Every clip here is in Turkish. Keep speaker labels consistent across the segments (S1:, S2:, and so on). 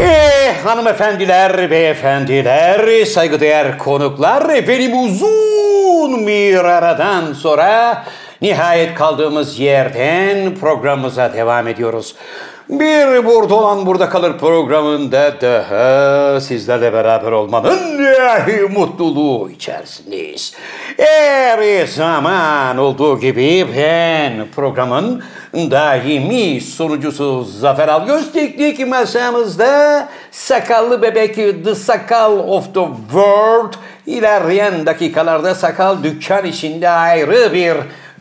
S1: Eh, hanımefendiler, beyefendiler, saygıdeğer konuklar, benim uzun bir aradan sonra nihayet kaldığımız yerden programımıza devam ediyoruz. Bir burada olan burada kalır programında daha sizlerle beraber olmanın eh, mutluluğu içerisindeyiz. Her zaman olduğu gibi ben programın daimi sunucusu Zafer Algöz teknik masamızda sakallı bebek The Sakal of the World ilerleyen dakikalarda sakal dükkan içinde ayrı bir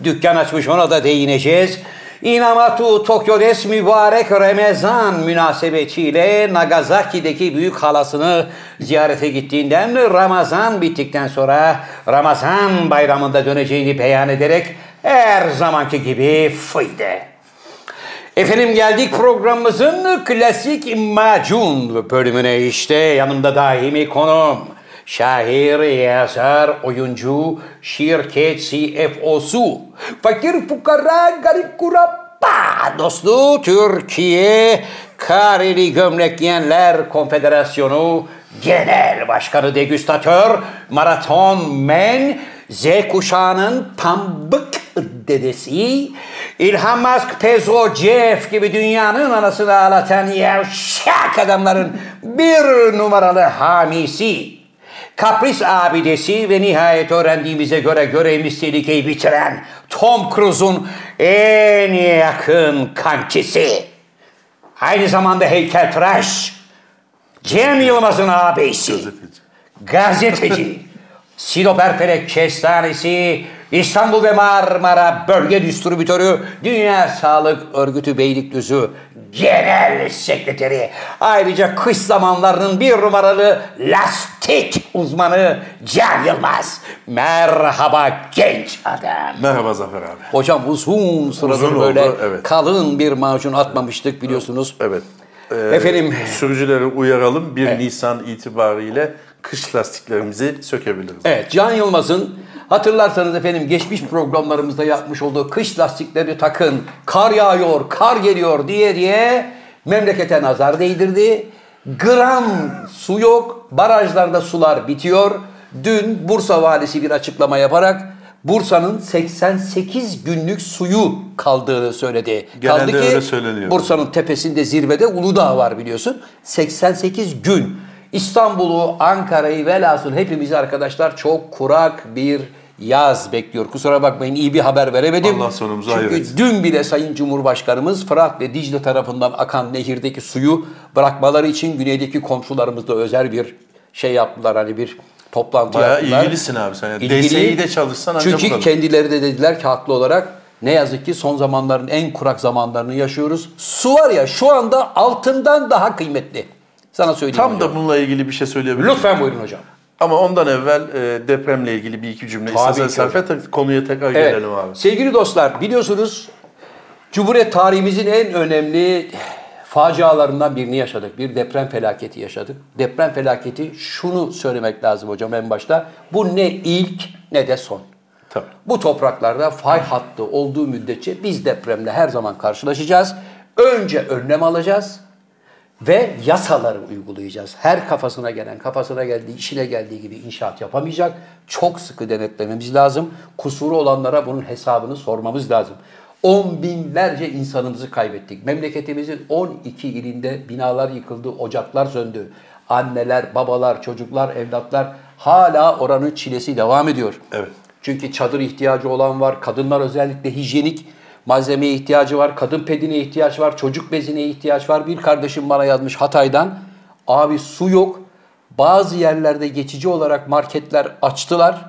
S1: dükkan açmış ona da değineceğiz. İnamatu Tokyo'des mübarek Ramazan münasebetiyle Nagasaki'deki büyük halasını ziyarete gittiğinden Ramazan bittikten sonra Ramazan bayramında döneceğini beyan ederek her zamanki gibi fıydı. Efendim geldik programımızın klasik macun bölümüne işte yanımda daimi konum. Şair, yazar, oyuncu, şirket CFO'su, fakir fukara, garip kurabba dostu Türkiye Kareli Gömlek Giyenler Konfederasyonu Genel Başkanı Degüstatör Maraton Men Z kuşağının pambık dedesi İlhan Musk, Pezo, Jeff gibi dünyanın anasını ağlatan yavşak adamların bir numaralı hamisi. Kapris abidesi ve nihayet öğrendiğimize göre görevimiz tehlikeyi bitiren Tom Cruise'un en yakın kankisi. Aynı zamanda heykeltıraş Cem Yılmaz'ın abisi. Gazeteci. Siloperfelek Kestanesi, İstanbul ve Marmara Bölge Distribütörü, Dünya Sağlık Örgütü Beylikdüzü Genel Sekreteri. Ayrıca kış zamanlarının bir numaralı lastik uzmanı Can Yılmaz. Merhaba genç adam.
S2: Merhaba Zafer abi.
S1: Hocam uzun sıradır
S2: Uzun oldu,
S1: böyle
S2: evet.
S1: kalın bir macun atmamıştık biliyorsunuz.
S2: Evet. Ee,
S1: Efendim.
S2: Sürücüleri uyaralım. 1 Nisan itibariyle kış lastiklerimizi sökebiliriz.
S1: Evet, Can Yılmaz'ın hatırlarsanız efendim geçmiş programlarımızda yapmış olduğu kış lastikleri takın, kar yağıyor, kar geliyor diye diye memlekete nazar değdirdi. Gram su yok, barajlarda sular bitiyor. Dün Bursa valisi bir açıklama yaparak Bursa'nın 88 günlük suyu kaldığını söyledi.
S2: Genelde
S1: Kaldı
S2: öyle söyleniyor.
S1: Bursa'nın tepesinde zirvede Uludağ var biliyorsun. 88 gün. İstanbul'u, Ankara'yı velhasıl hepimizi arkadaşlar çok kurak bir yaz bekliyor. Kusura bakmayın iyi bir haber veremedim.
S2: Allah sonumuzu
S1: Çünkü
S2: hayır etsin.
S1: dün bile Sayın Cumhurbaşkanımız Fırat ve Dicle tarafından akan nehirdeki suyu bırakmaları için güneydeki komşularımızla özel bir şey yaptılar. Hani bir toplantı
S2: Bayağı
S1: yaptılar.
S2: ilgilisin abi sen. Yani
S1: İlgili.
S2: DSE'yi de çalışsan ancak
S1: Çünkü
S2: olur.
S1: kendileri de dediler ki haklı olarak ne yazık ki son zamanların en kurak zamanlarını yaşıyoruz. Su var ya şu anda altından daha kıymetli. Sana söyleyeyim
S2: Tam
S1: hocam.
S2: da bununla ilgili bir şey söyleyebilirim.
S1: Lütfen buyurun hocam.
S2: Ama ondan evvel e, depremle ilgili bir iki cümle istersen
S1: ki
S2: Zafer tek- konuya tekrar
S1: Evet.
S2: gelelim abi.
S1: Sevgili dostlar biliyorsunuz Cumhuriyet tarihimizin en önemli facialarından birini yaşadık. Bir deprem felaketi yaşadık. Deprem felaketi şunu söylemek lazım hocam en başta. Bu ne ilk ne de son.
S2: Tabii.
S1: Bu topraklarda fay hattı olduğu müddetçe biz depremle her zaman karşılaşacağız. Önce önlem alacağız ve yasaları uygulayacağız. Her kafasına gelen, kafasına geldiği, işine geldiği gibi inşaat yapamayacak. Çok sıkı denetlememiz lazım. Kusuru olanlara bunun hesabını sormamız lazım. On binlerce insanımızı kaybettik. Memleketimizin 12 ilinde binalar yıkıldı, ocaklar söndü. Anneler, babalar, çocuklar, evlatlar hala oranın çilesi devam ediyor.
S2: Evet.
S1: Çünkü çadır ihtiyacı olan var. Kadınlar özellikle hijyenik malzemeye ihtiyacı var. Kadın pedine ihtiyaç var. Çocuk bezine ihtiyaç var. Bir kardeşim bana yazmış Hatay'dan. Abi su yok. Bazı yerlerde geçici olarak marketler açtılar.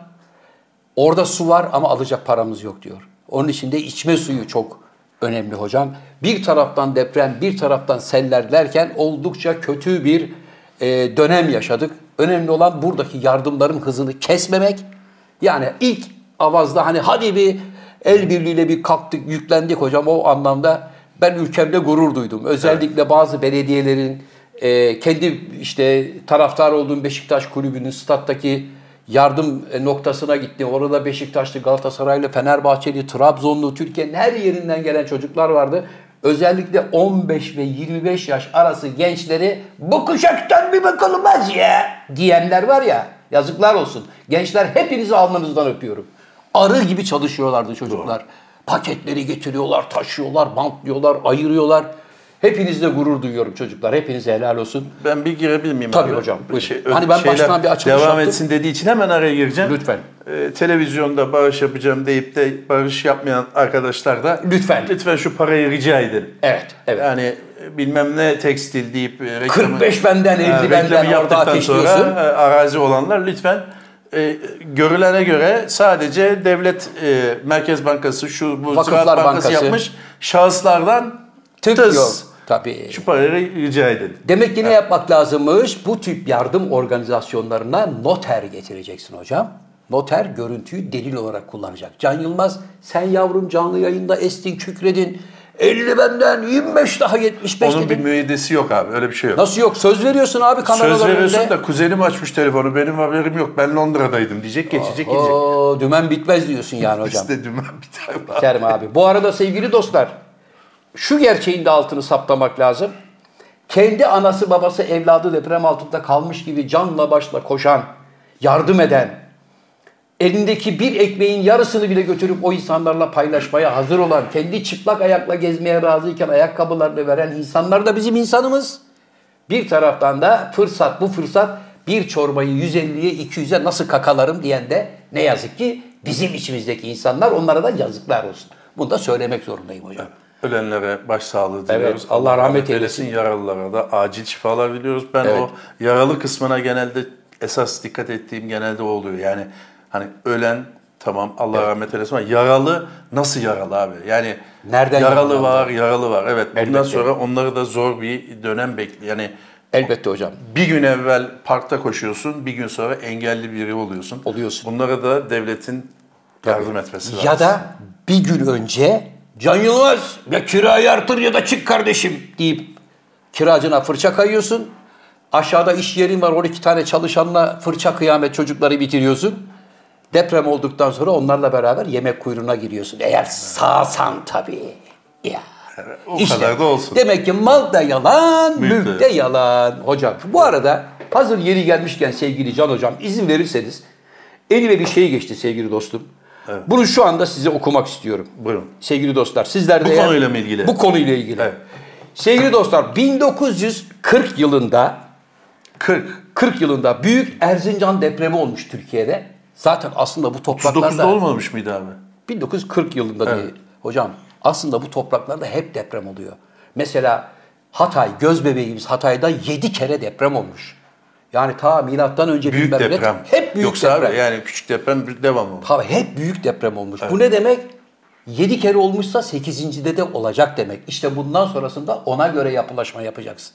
S1: Orada su var ama alacak paramız yok diyor. Onun için de içme suyu çok önemli hocam. Bir taraftan deprem, bir taraftan seller derken oldukça kötü bir e, dönem yaşadık. Önemli olan buradaki yardımların hızını kesmemek. Yani ilk avazda hani hadi bir el birliğiyle bir kalktık, yüklendik hocam o anlamda ben ülkemde gurur duydum. Özellikle bazı belediyelerin e, kendi işte taraftar olduğum Beşiktaş kulübünün stattaki yardım e, noktasına gitti. Orada Beşiktaşlı, Galatasaraylı, Fenerbahçeli, Trabzonlu, Türkiye'nin her yerinden gelen çocuklar vardı. Özellikle 15 ve 25 yaş arası gençleri bu kuşaktan bir bakılmaz ya diyenler var ya yazıklar olsun. Gençler hepinizi alnınızdan öpüyorum. Arı gibi çalışıyorlardı çocuklar. Paketleri getiriyorlar, taşıyorlar, bantlıyorlar, ayırıyorlar. Hepinizle gurur duyuyorum çocuklar. Hepinize helal olsun.
S2: Ben bir girebilir miyim?
S1: Tabii
S2: abi?
S1: hocam, buyurun.
S2: ö-
S1: Hani ben baştan bir açılış
S2: Devam
S1: yaptım.
S2: etsin dediği için hemen araya gireceğim.
S1: Lütfen.
S2: Ee, televizyonda bağış yapacağım deyip de bağış yapmayan arkadaşlar da
S1: Lütfen.
S2: lütfen şu parayı rica edelim.
S1: Evet, evet.
S2: Yani e, bilmem ne tekstil deyip e, reklamı,
S1: 45 benden, 50
S2: Ha, reklamı
S1: benden orada
S2: yaptıktan sonra
S1: ateşliyorsun.
S2: e, arazi olanlar lütfen e, görülene göre sadece devlet e, Merkez Bankası şu bu
S1: Vakıflar
S2: Ziraat Bankası,
S1: Bankası.
S2: yapmış şahıslardan
S1: Tık
S2: tıs.
S1: yok. Tabii.
S2: Şu parayı rica edelim.
S1: Demek ki ne yapmak lazımmış? Bu tip yardım organizasyonlarına noter getireceksin hocam. Noter görüntüyü delil olarak kullanacak. Can Yılmaz sen yavrum canlı yayında estin kükredin. 50 benden 25 daha 75
S2: Onun bir
S1: dedin.
S2: müeyyidesi yok abi. Öyle bir şey yok.
S1: Nasıl yok? Söz veriyorsun abi kameraların
S2: Söz veriyorsun
S1: önünde.
S2: da kuzenim açmış telefonu. Benim haberim yok. Ben Londra'daydım diyecek. Geçecek gidecek.
S1: Oo, dümen bitmez diyorsun yani hocam.
S2: İstedim ben bir tane daha.
S1: Kerim abi. Bu arada sevgili dostlar şu gerçeğin de altını saptamak lazım. Kendi anası babası evladı deprem altında kalmış gibi canla başla koşan, yardım eden, elindeki bir ekmeğin yarısını bile götürüp o insanlarla paylaşmaya hazır olan, kendi çıplak ayakla gezmeye razıyken ayakkabılarını veren insanlar da bizim insanımız. Bir taraftan da fırsat bu fırsat bir çorbayı 150'ye 200'e nasıl kakalarım diyen de ne yazık ki bizim içimizdeki insanlar onlara da yazıklar olsun. Bunu da söylemek zorundayım hocam.
S2: Ölenlere başsağlığı diliyoruz.
S1: Evet, Allah rahmet eylesin.
S2: Yaralılara da acil şifalar diliyoruz. Ben
S1: Evet.
S2: o yaralı kısmına genelde esas dikkat ettiğim genelde o oluyor. Yani hani ölen tamam Allah rahmet eylesin ama yaralı nasıl yaralı abi? Yani
S1: Nereden
S2: yaralı
S1: yaralı?
S2: var, yaralı var. Evet. Bundan
S1: Elbette.
S2: sonra onları da zor bir dönem bekliyor. Yani
S1: Elbette hocam.
S2: bir gün evvel parkta koşuyorsun, bir gün sonra engelli biri oluyorsun.
S1: Oluyorsun.
S2: Bunlara da devletin yardım etmesi lazım.
S1: Ya da bir gün önce Can Yılmaz ya kirayı artır ya da çık kardeşim deyip kiracına fırça kayıyorsun. Aşağıda iş yerin var 12 tane çalışanla fırça kıyamet çocukları bitiriyorsun. Deprem olduktan sonra onlarla beraber yemek kuyruğuna giriyorsun. Eğer sağsan tabii. Ya.
S2: o kadar da olsun.
S1: Demek ki mal da yalan,
S2: Mülk de
S1: mülk de yalan. Hocam bu arada hazır yeri gelmişken sevgili Can Hocam izin verirseniz elime bir şey geçti sevgili dostum. Bunu şu anda size okumak istiyorum.
S2: Buyurun.
S1: Sevgili dostlar sizler de...
S2: Bu
S1: eğer-
S2: konuyla mı ilgili?
S1: Bu konuyla ilgili.
S2: Evet.
S1: Sevgili dostlar 1940 yılında
S2: 40
S1: 40 yılında büyük Erzincan depremi olmuş Türkiye'de. Zaten aslında bu topraklarda...
S2: 39'da olmamış mıydı abi?
S1: 1940 yılında değil. Hocam aslında bu topraklarda hep deprem oluyor. Mesela Hatay, göz bebeğimiz Hatay'da 7 kere deprem olmuş. Yani ta milattan önce
S2: Büyük
S1: bilmem ne-
S2: deprem.
S1: Hep büyük
S2: Yoksa
S1: deprem.
S2: abi yani küçük deprem bir devamı.
S1: Tabii hep büyük deprem olmuş. Bu ne demek? 7 kere olmuşsa 8.de de olacak demek. İşte bundan sonrasında ona göre yapılaşma yapacaksın.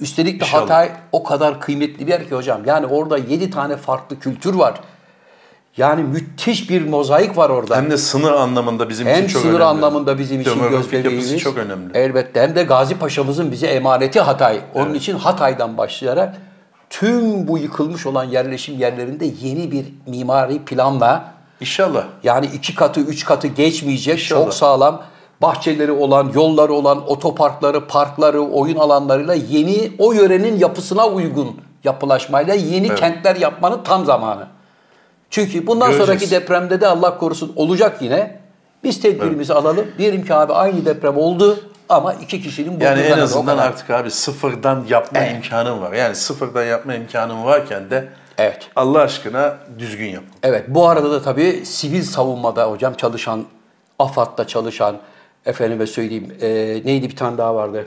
S1: Üstelik de
S2: İnşallah.
S1: Hatay o kadar kıymetli bir yer ki hocam. Yani orada 7 tane farklı kültür var. Yani müthiş bir mozaik var orada.
S2: Hem de sınır anlamında bizim
S1: Hem
S2: için çok
S1: sınır
S2: önemli.
S1: anlamında bizim için
S2: Demografik yapısı
S1: gösterdiğimiz
S2: çok önemli.
S1: Elbette hem de Gazi Paşa'mızın bize emaneti Hatay. Onun için Hatay'dan başlayarak tüm bu yıkılmış olan yerleşim yerlerinde yeni bir mimari planla
S2: İnşallah.
S1: yani iki katı, üç katı geçmeyecek
S2: İnşallah.
S1: çok sağlam bahçeleri olan, yolları olan, otoparkları, parkları, oyun alanlarıyla yeni o yörenin yapısına uygun yapılaşmayla yeni kentler yapmanın tam zamanı. Çünkü bundan
S2: Göreceğiz.
S1: sonraki depremde de Allah korusun olacak yine. Biz tedbirimizi alalım. Diyelim ki abi aynı deprem oldu ama iki kişinin
S2: Yani en
S1: burnundan öldü, o
S2: azından
S1: kadar.
S2: artık abi sıfırdan yapma imkanım var. Yani sıfırdan yapma imkanım varken de
S1: Evet.
S2: Allah aşkına düzgün yap.
S1: Evet bu arada da tabii sivil savunmada hocam çalışan, AFAD'da çalışan, efendime söyleyeyim e, neydi bir tane daha vardı?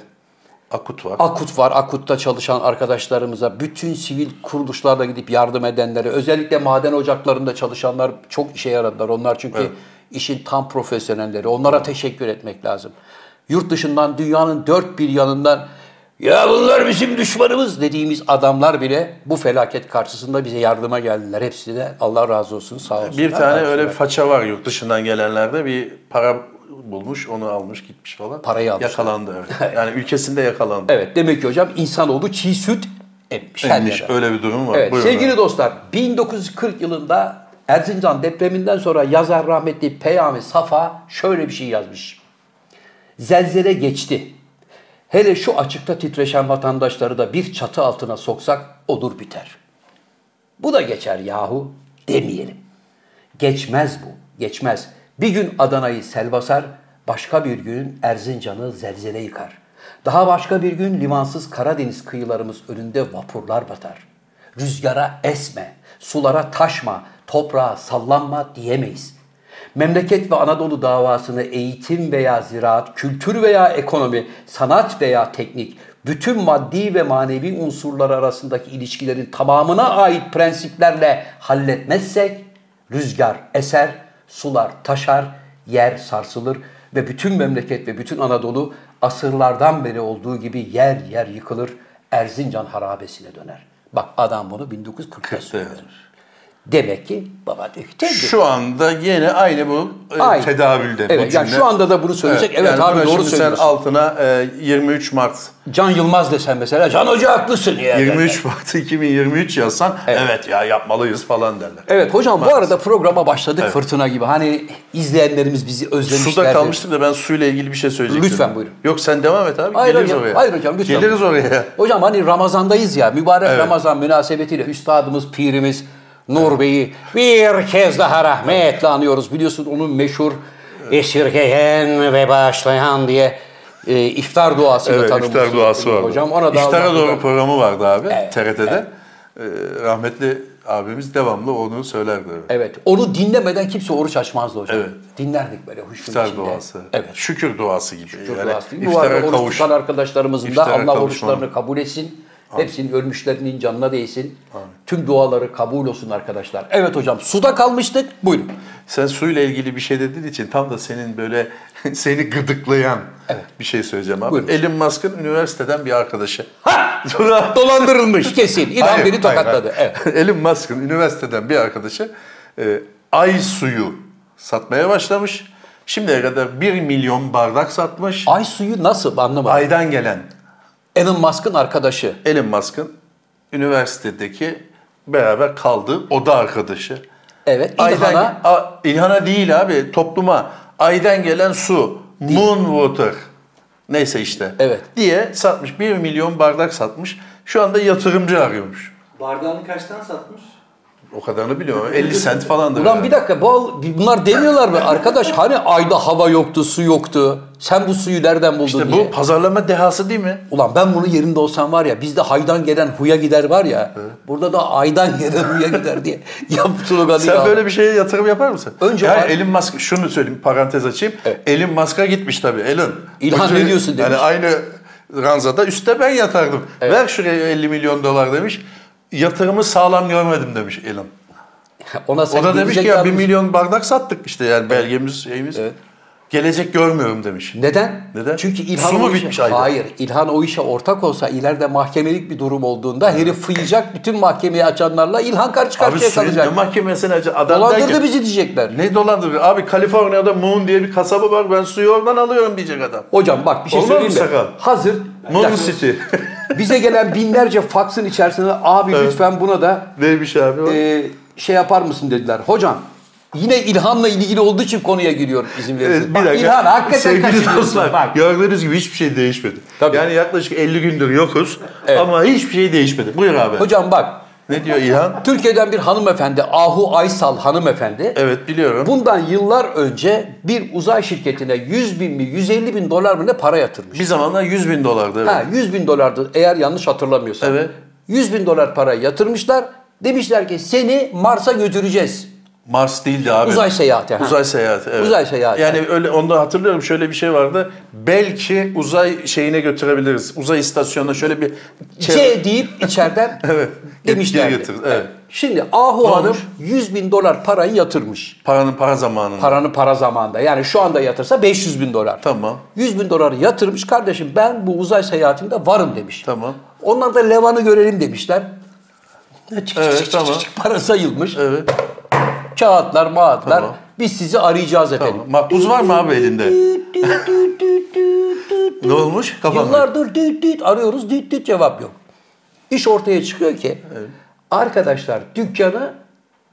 S2: Akut var.
S1: Akut var. Akut'ta çalışan arkadaşlarımıza, bütün sivil kuruluşlarda gidip yardım edenlere, özellikle maden ocaklarında çalışanlar çok işe yaradılar. Onlar çünkü işin tam profesyonelleri. Onlara teşekkür etmek lazım. Yurt dışından, dünyanın dört bir yanından ya bunlar bizim düşmanımız dediğimiz adamlar bile bu felaket karşısında bize yardıma geldiler. Hepsi de Allah razı olsun, sağ olsunlar.
S2: bir tane
S1: karşılar.
S2: öyle bir faça var yurt dışından gelenlerde bir para bulmuş, onu almış gitmiş falan.
S1: Parayı almışlar.
S2: Yakalandı evet. Yani ülkesinde yakalandı.
S1: Evet demek ki hocam insanoğlu çiğ süt emmiş. her
S2: Emmiş,
S1: yerden.
S2: öyle bir durum var.
S1: Evet,
S2: Buyurun
S1: sevgili
S2: abi.
S1: dostlar 1940 yılında Erzincan depreminden sonra yazar rahmetli Peyami Safa şöyle bir şey yazmış. Zelzele geçti. Hele şu açıkta titreşen vatandaşları da bir çatı altına soksak olur biter. Bu da geçer yahu demeyelim. Geçmez bu, geçmez. Bir gün Adana'yı sel basar, başka bir gün Erzincan'ı zelzele yıkar. Daha başka bir gün limansız Karadeniz kıyılarımız önünde vapurlar batar. Rüzgara esme, sulara taşma, toprağa sallanma diyemeyiz. Memleket ve Anadolu davasını eğitim veya ziraat, kültür veya ekonomi, sanat veya teknik, bütün maddi ve manevi unsurlar arasındaki ilişkilerin tamamına ait prensiplerle halletmezsek, rüzgar eser, sular taşar, yer sarsılır ve bütün memleket ve bütün Anadolu asırlardan beri olduğu gibi yer yer yıkılır, Erzincan harabesine döner. Bak adam bunu 1940'ta söylüyor.
S2: yazmış.
S1: Demek ki baba diyor.
S2: Şu anda yine aynı bu e,
S1: Aynı.
S2: tedavülde. bu
S1: Evet, yani
S2: cümle.
S1: şu anda da bunu söyleyecek. Evet,
S2: yani
S1: abi
S2: buna
S1: doğru
S2: şimdi sen
S1: söylüyorsun.
S2: altına e, 23 Mart
S1: Can Yılmaz desen mesela Can Hoca haklısın ya.
S2: 23 Mart 2023 yazsan evet.
S1: Evet.
S2: ya yapmalıyız falan derler.
S1: Evet hocam bu arada programa başladık fırtına gibi. Hani izleyenlerimiz bizi özlemişlerdi.
S2: Suda kalmıştım da ben suyla ilgili bir şey söyleyecektim.
S1: Lütfen buyurun.
S2: Yok sen devam et abi.
S1: Hayır
S2: Geliriz
S1: hocam,
S2: oraya.
S1: hayır hocam, lütfen.
S2: Geliriz oraya.
S1: Hocam hani Ramazan'dayız ya. Mübarek
S2: Evet.
S1: Ramazan münasebetiyle üstadımız, pirimiz Nur Bey'i bir kez daha rahmetle anıyoruz. Biliyorsun onun meşhur esirgeyen ve bağışlayan diye e, iftar duasıyla
S2: Evet,
S1: tanınmış.
S2: iftar duası vardı.
S1: Hocam ona da
S2: İftara
S1: Allah'ın-
S2: doğru programı vardı abi
S1: Evet,
S2: TRT'de. Ee, rahmetli abimiz devamlı onu söylerdi.
S1: Evet. Onu dinlemeden kimse oruç açmazdı hocam.
S2: Evet.
S1: Dinlerdik böyle huşun
S2: İftar
S1: içinde.
S2: duası.
S1: Evet.
S2: Şükür duası gibi. Şükür
S1: Çok duası değil mi? Bu
S2: İftara
S1: arada oruç
S2: kavuş.
S1: tutan arkadaşlarımızın da
S2: İftara
S1: Allah
S2: kavuşmanın.
S1: oruçlarını kabul etsin. Hepsinin ölmüşlerinin canına değsin. Tüm duaları kabul olsun arkadaşlar. Evet hocam suda kalmıştık. Buyurun.
S2: Sen suyla ilgili bir şey dediğin için tam da senin böyle seni gıdıklayan bir şey söyleyeceğim abi.
S1: Buyurun.
S2: Elon Musk'ın üniversiteden bir arkadaşı.
S1: Ha!
S2: Sonra-
S1: Dolandırılmış. Kesin. İnan
S2: Hayır,
S1: beni
S2: hayır,
S1: tokatladı.
S2: hayır.
S1: Evet.
S2: Elon Musk'ın üniversiteden bir arkadaşı e, ay suyu satmaya başlamış. Şimdiye kadar 1 milyon bardak satmış.
S1: Ay suyu nasıl anlamadım.
S2: Aydan gelen
S1: Elon Musk'ın arkadaşı.
S2: Elon Musk'ın üniversitedeki beraber kaldığı oda arkadaşı.
S1: Evet. İlhan'a
S2: Aydan, A- İlhan'a değil abi topluma aydan gelen su, moon water neyse işte
S1: Evet.
S2: diye satmış. 1 milyon bardak satmış. Şu anda yatırımcı arıyormuş.
S3: Bardağını kaçtan satmış?
S2: O kadarını biliyorum ama 50 sent falandır.
S1: Ulan
S2: herhalde.
S1: bir dakika bu, bunlar demiyorlar mı? Arkadaş hani ayda hava yoktu, su yoktu. Sen bu suyu nereden buldun
S2: İşte
S1: diye.
S2: bu pazarlama dehası değil mi?
S1: Ulan ben bunun yerinde olsam var ya bizde haydan gelen huya gider var ya. Burada da aydan gelen huya gider diye. Yap sloganı
S2: Sen
S1: ya.
S2: böyle bir şeye yatırım yapar mısın?
S1: Önce
S2: yani
S1: var-
S2: Elon Musk şunu söyleyeyim parantez açayım.
S1: Evet.
S2: Elon Musk'a gitmiş tabii. Elon.
S1: İlhan
S2: Önce-
S1: ne diyorsun
S2: Yani
S1: demiş.
S2: aynı ranzada üstte ben yatardım. Ver şuraya 50 milyon dolar demiş. Yatırımı sağlam görmedim demiş Elon.
S1: Ona sen
S2: o da demiş
S1: gelecek
S2: ki ya 1
S1: yalnız-
S2: milyon bardak sattık işte yani belgemiz şeyimiz. Gelecek görmüyorum demiş.
S1: Neden?
S2: Neden?
S1: Çünkü İlhan
S2: Su mu
S1: o işe-
S2: bitmiş ayda?
S1: Hayır. İlhan o işe ortak olsa ileride mahkemelik bir durum olduğunda herif fıyacak bütün mahkemeyi açanlarla İlhan karşı
S2: Abi
S1: karşıya
S2: senin ne
S1: kalacak.
S2: mahkemesine adam der
S1: Dolandırdı
S2: ki,
S1: bizi diyecekler.
S2: Ne dolandırdı? Abi Kaliforniya'da Moon diye bir kasaba var ben suyu oradan alıyorum diyecek adam.
S1: Hocam bak bir şey
S2: Olmaz
S1: söyleyeyim mi?
S2: mı sakal?
S1: Hazır. Bir
S2: Moon
S1: dakika.
S2: City.
S1: Bize gelen binlerce faksın içerisinde abi lütfen buna da
S2: Neymiş abi o?
S1: e, şey yapar mısın dediler. Hocam yine İlhan'la ilgili olduğu için konuya giriyor izin
S2: Evet,
S1: verirseniz.
S2: bir
S1: Bak,
S2: dakika.
S1: İlhan hakikaten
S2: Sevgili
S1: kaçırıyorsun.
S2: dostlar,
S1: Bak.
S2: gördüğünüz gibi hiçbir şey değişmedi.
S1: Tabii.
S2: Yani yaklaşık 50 gündür yokuz
S1: Evet.
S2: ama hiçbir şey değişmedi. Buyur abi.
S1: Hocam bak
S2: Ne diyor İlhan?
S1: Türkiye'den bir hanımefendi Ahu Aysal hanımefendi
S2: Evet biliyorum.
S1: bundan yıllar önce bir uzay şirketine 100 bin mi 150 bin dolar mı ne para yatırmış.
S2: Bir zamanlar 100 bin dolardı. Evet.
S1: Ha 100 bin dolardı eğer yanlış hatırlamıyorsam.
S2: Evet.
S1: 100 bin dolar para yatırmışlar. Demişler ki seni Mars'a götüreceğiz.
S2: Mars değildi abi.
S1: Uzay şey seyahati, ha.
S2: Uzay seyahati. Evet.
S1: Uzay seyahati.
S2: Yani öyle onu da hatırlıyorum şöyle bir şey vardı. Belki uzay şeyine götürebiliriz. Uzay istasyonuna şöyle bir
S1: C deyip içeriden
S2: Evet.
S1: Şey demişlerdi.
S2: Geri getir, evet.
S1: Şimdi Ahu
S2: Ne
S1: Hanım
S2: olmuş?
S1: 100 bin dolar parayı yatırmış.
S2: paranın para zamanında.
S1: Paranın para zamanında. Yani şu anda yatırsa 500 bin dolar.
S2: Tamam.
S1: 100 bin doları yatırmış. Kardeşim ben bu uzay seyahatinde varım demiş.
S2: Tamam.
S1: Onlar da Levan'ı görelim demişler. Çık, çık,
S2: Evet,
S1: çık, çık,
S2: tamam.
S1: çık, Para sayılmış.
S2: Evet.
S1: Kağıtlar, mağıtlar.
S2: Tamam.
S1: Biz sizi arayacağız efendim.
S2: Tamam. Makbuz var mı abi elinde?
S1: Düt, düt, düt, düt, düt, düt.
S2: ne olmuş? Kapanmış.
S1: Yıllardır düt düt arıyoruz düt düt cevap yok. İş ortaya çıkıyor ki arkadaşlar dükkanı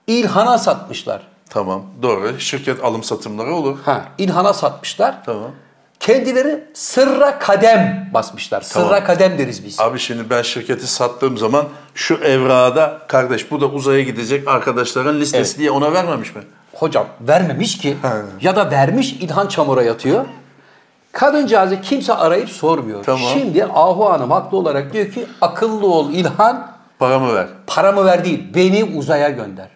S1: İlhan'a satmışlar.
S2: Tamam. Doğru. Şirket alım satımları olur.
S1: Ha İlhan'a satmışlar.
S2: Tamam.
S1: Kendileri sırra kadem basmışlar. Sırra
S2: Tamam.
S1: kadem deriz biz.
S2: Abi şimdi ben şirketi sattığım zaman şu evrada kardeş bu da uzaya gidecek arkadaşların listesi diye ona vermemiş mi?
S1: Hocam vermemiş ki ya da vermiş İlhan Çamur'a yatıyor. Kadıncağızı kimse arayıp sormuyor.
S2: Tamam.
S1: Şimdi Ahu Hanım haklı olarak diyor ki akıllı ol İlhan
S2: Paramı ver.
S1: paramı ver değil beni uzaya gönder.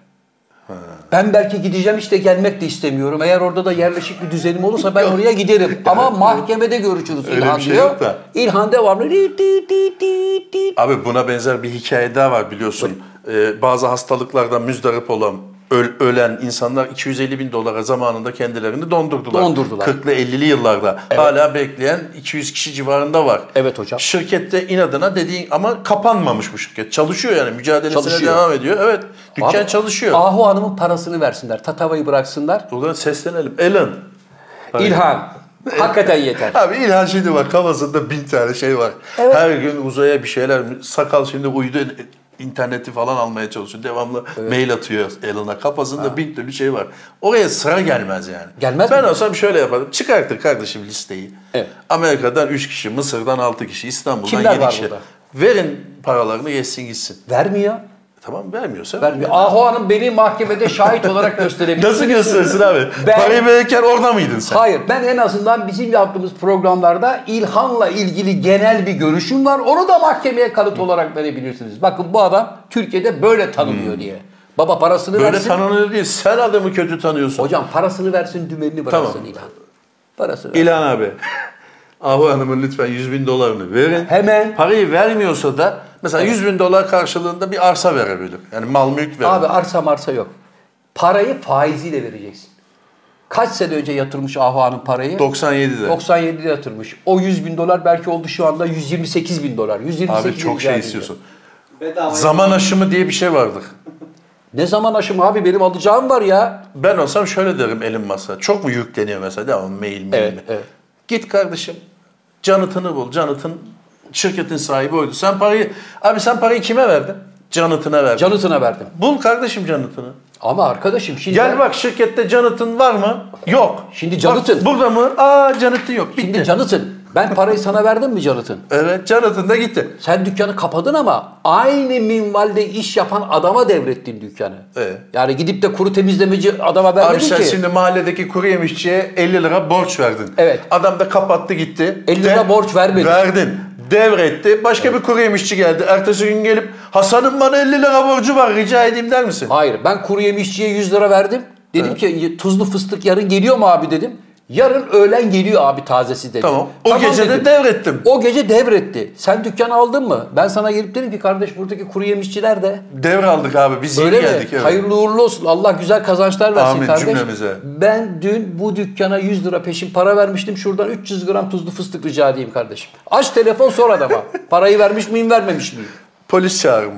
S1: Ben belki gideceğim işte gelmek de istemiyorum. Eğer orada da yerleşik bir düzenim olursa ben oraya giderim. Ama mahkemede görüşürüz
S2: Öyle
S1: İlhan
S2: bir şey
S1: diyor.
S2: yok da.
S1: İlhan devamlı di di di di di.
S2: Abi buna benzer bir hikaye daha var biliyorsun. Ee, bazı hastalıklardan müzdarip olan öl- ölen insanlar 250 bin dolara zamanında kendilerini dondurdular.
S1: Dondurdular.
S2: 40'lı 50'li yıllarda. Hala bekleyen 200 kişi civarında var.
S1: Evet hocam.
S2: Şirkette inadına dediğin ama kapanmamış bu şirket. Çalışıyor yani mücadelesine
S1: Çalışıyor.
S2: devam ediyor. Evet dükkan
S1: Abi,
S2: çalışıyor.
S1: Ahu Hanım'ın parasını versinler. Tatavayı bıraksınlar.
S2: Buradan seslenelim. Elon
S1: İlhan. Hakikaten yeter.
S2: Abi İlhan şimdi bak kafasında bin tane şey var. Her gün uzaya bir şeyler, sakal şimdi uydu interneti falan almaya çalışıyor. Devamlı mail atıyor Elon'a. Kafasında bin türlü şey var. Oraya sıra gelmez yani.
S1: Gelmez
S2: ben
S1: mi?
S2: olsam şöyle yapardım. Çıkartır kardeşim listeyi.
S1: Evet.
S2: Amerika'dan 3 kişi, Mısır'dan 6 kişi, İstanbul'dan
S1: Kimler
S2: 7
S1: var
S2: kişi.
S1: burada?
S2: Verin paralarını yesin gitsin.
S1: Vermiyor.
S2: Tamam vermiyorsa
S1: Vermiyor. Ahu Hanım beni mahkemede şahit olarak gösterebilir.
S2: Nasıl gösterirsin abi?
S1: Ben-
S2: Parayı verirken orada mıydın sen?
S1: Hayır ben en azından bizim yaptığımız programlarda İlhan'la ilgili genel bir görüşüm var. Onu da mahkemeye kanıt olarak verebilirsiniz. Bakın bu adam Türkiye'de böyle tanınıyor diye. Baba parasını
S2: Böyle
S1: versin.
S2: tanınıyor değil. Sen adamı kötü tanıyorsun.
S1: Hocam parasını versin dümenini bıraksın
S2: Tamam.
S1: İlhan. Parasını versin.
S2: İlhan abi. Ahu Hanım'ın lütfen 100 bin dolarını verin.
S1: Hemen.
S2: Parayı vermiyorsa da mesela 100 bin dolar karşılığında bir arsa verebilir. Yani mal mülk verebilir.
S1: Abi arsa marsa yok. Parayı faiziyle vereceksin. Kaç sene önce yatırmış Ahu Hanım parayı?
S2: 97'de.
S1: 97'de yatırmış. O 100 bin dolar belki oldu şu anda 128 bin dolar. 128
S2: Abi
S1: bin
S2: çok
S1: rica
S2: şey
S1: edildi.
S2: istiyorsun.
S3: Bedava.
S2: Zaman aşımı diye bir şey vardır.
S1: Ne zaman aşım abi benim alacağım var ya.
S2: Ben olsam şöyle derim Elon Musk'a. Çok mu yükleniyor mesela devamlı mail mail
S1: Evet,
S2: mi?
S1: evet.
S2: Git kardeşim. Jonathan'ı bul. Jonathan şirketin sahibi oydu. Sen parayı... Abi sen parayı kime verdin? Jonathan'a verdin.
S1: Canıtına verdim.
S2: bul kardeşim Jonathan'ı.
S1: Ama arkadaşım şimdi
S2: Gel bak şirkette Jonathan var mı? Yok.
S1: Şimdi Jonathan.
S2: Bak, burada mı? Aa Jonathan yok. Bitti.
S1: şimdi Canıtın. Ben parayı sana verdim mi Canıtın?
S2: evet Jonathan da gitti.
S1: Sen dükkanı kapadın ama aynı minvalde iş yapan adama devrettin dükkanı.
S2: Evet.
S1: Yani gidip de kuru temizlemeci adama
S2: E? Abi
S1: vermedin
S2: sen
S1: ki.
S2: şimdi mahalledeki kuru yemişçiye 50 lira borç verdin.
S1: Evet.
S2: Adam da kapattı gitti.
S1: 50 lira borç vermedin.
S2: Verdin. Devretti. Başka bir kuru yemişçi geldi. Ertesi gün gelip Hasan'ın bana 50 lira borcu var rica edeyim der misin?
S1: Hayır ben kuru yemişçiye 100 lira verdim.
S2: E?
S1: Dedim ki tuzlu fıstık yarın geliyor mu abi dedim. Yarın öğlen geliyor abi tazesi dedi.
S2: Tamam. O gece
S1: dedim.
S2: de devrettim.
S1: O gece devretti. Sen dükkanı aldın mı? Ben sana gelip dedim ki kardeş buradaki kuru yemişçiler de
S2: Devraldık abi. Biz
S1: Öyle
S2: yeni geldik.
S1: mi? Hayırlı uğurlu olsun. Allah güzel kazançlar versin
S2: Amin
S1: kardeş.
S2: cümlemize.
S1: Ben dün bu dükkana 100 lira peşin para vermiştim. Şuradan 300 gram tuzlu fıstık rica edeyim kardeşim. Aç telefon sor adama. Parayı vermiş miyim vermemiş miyim?
S2: Polis çağırırım.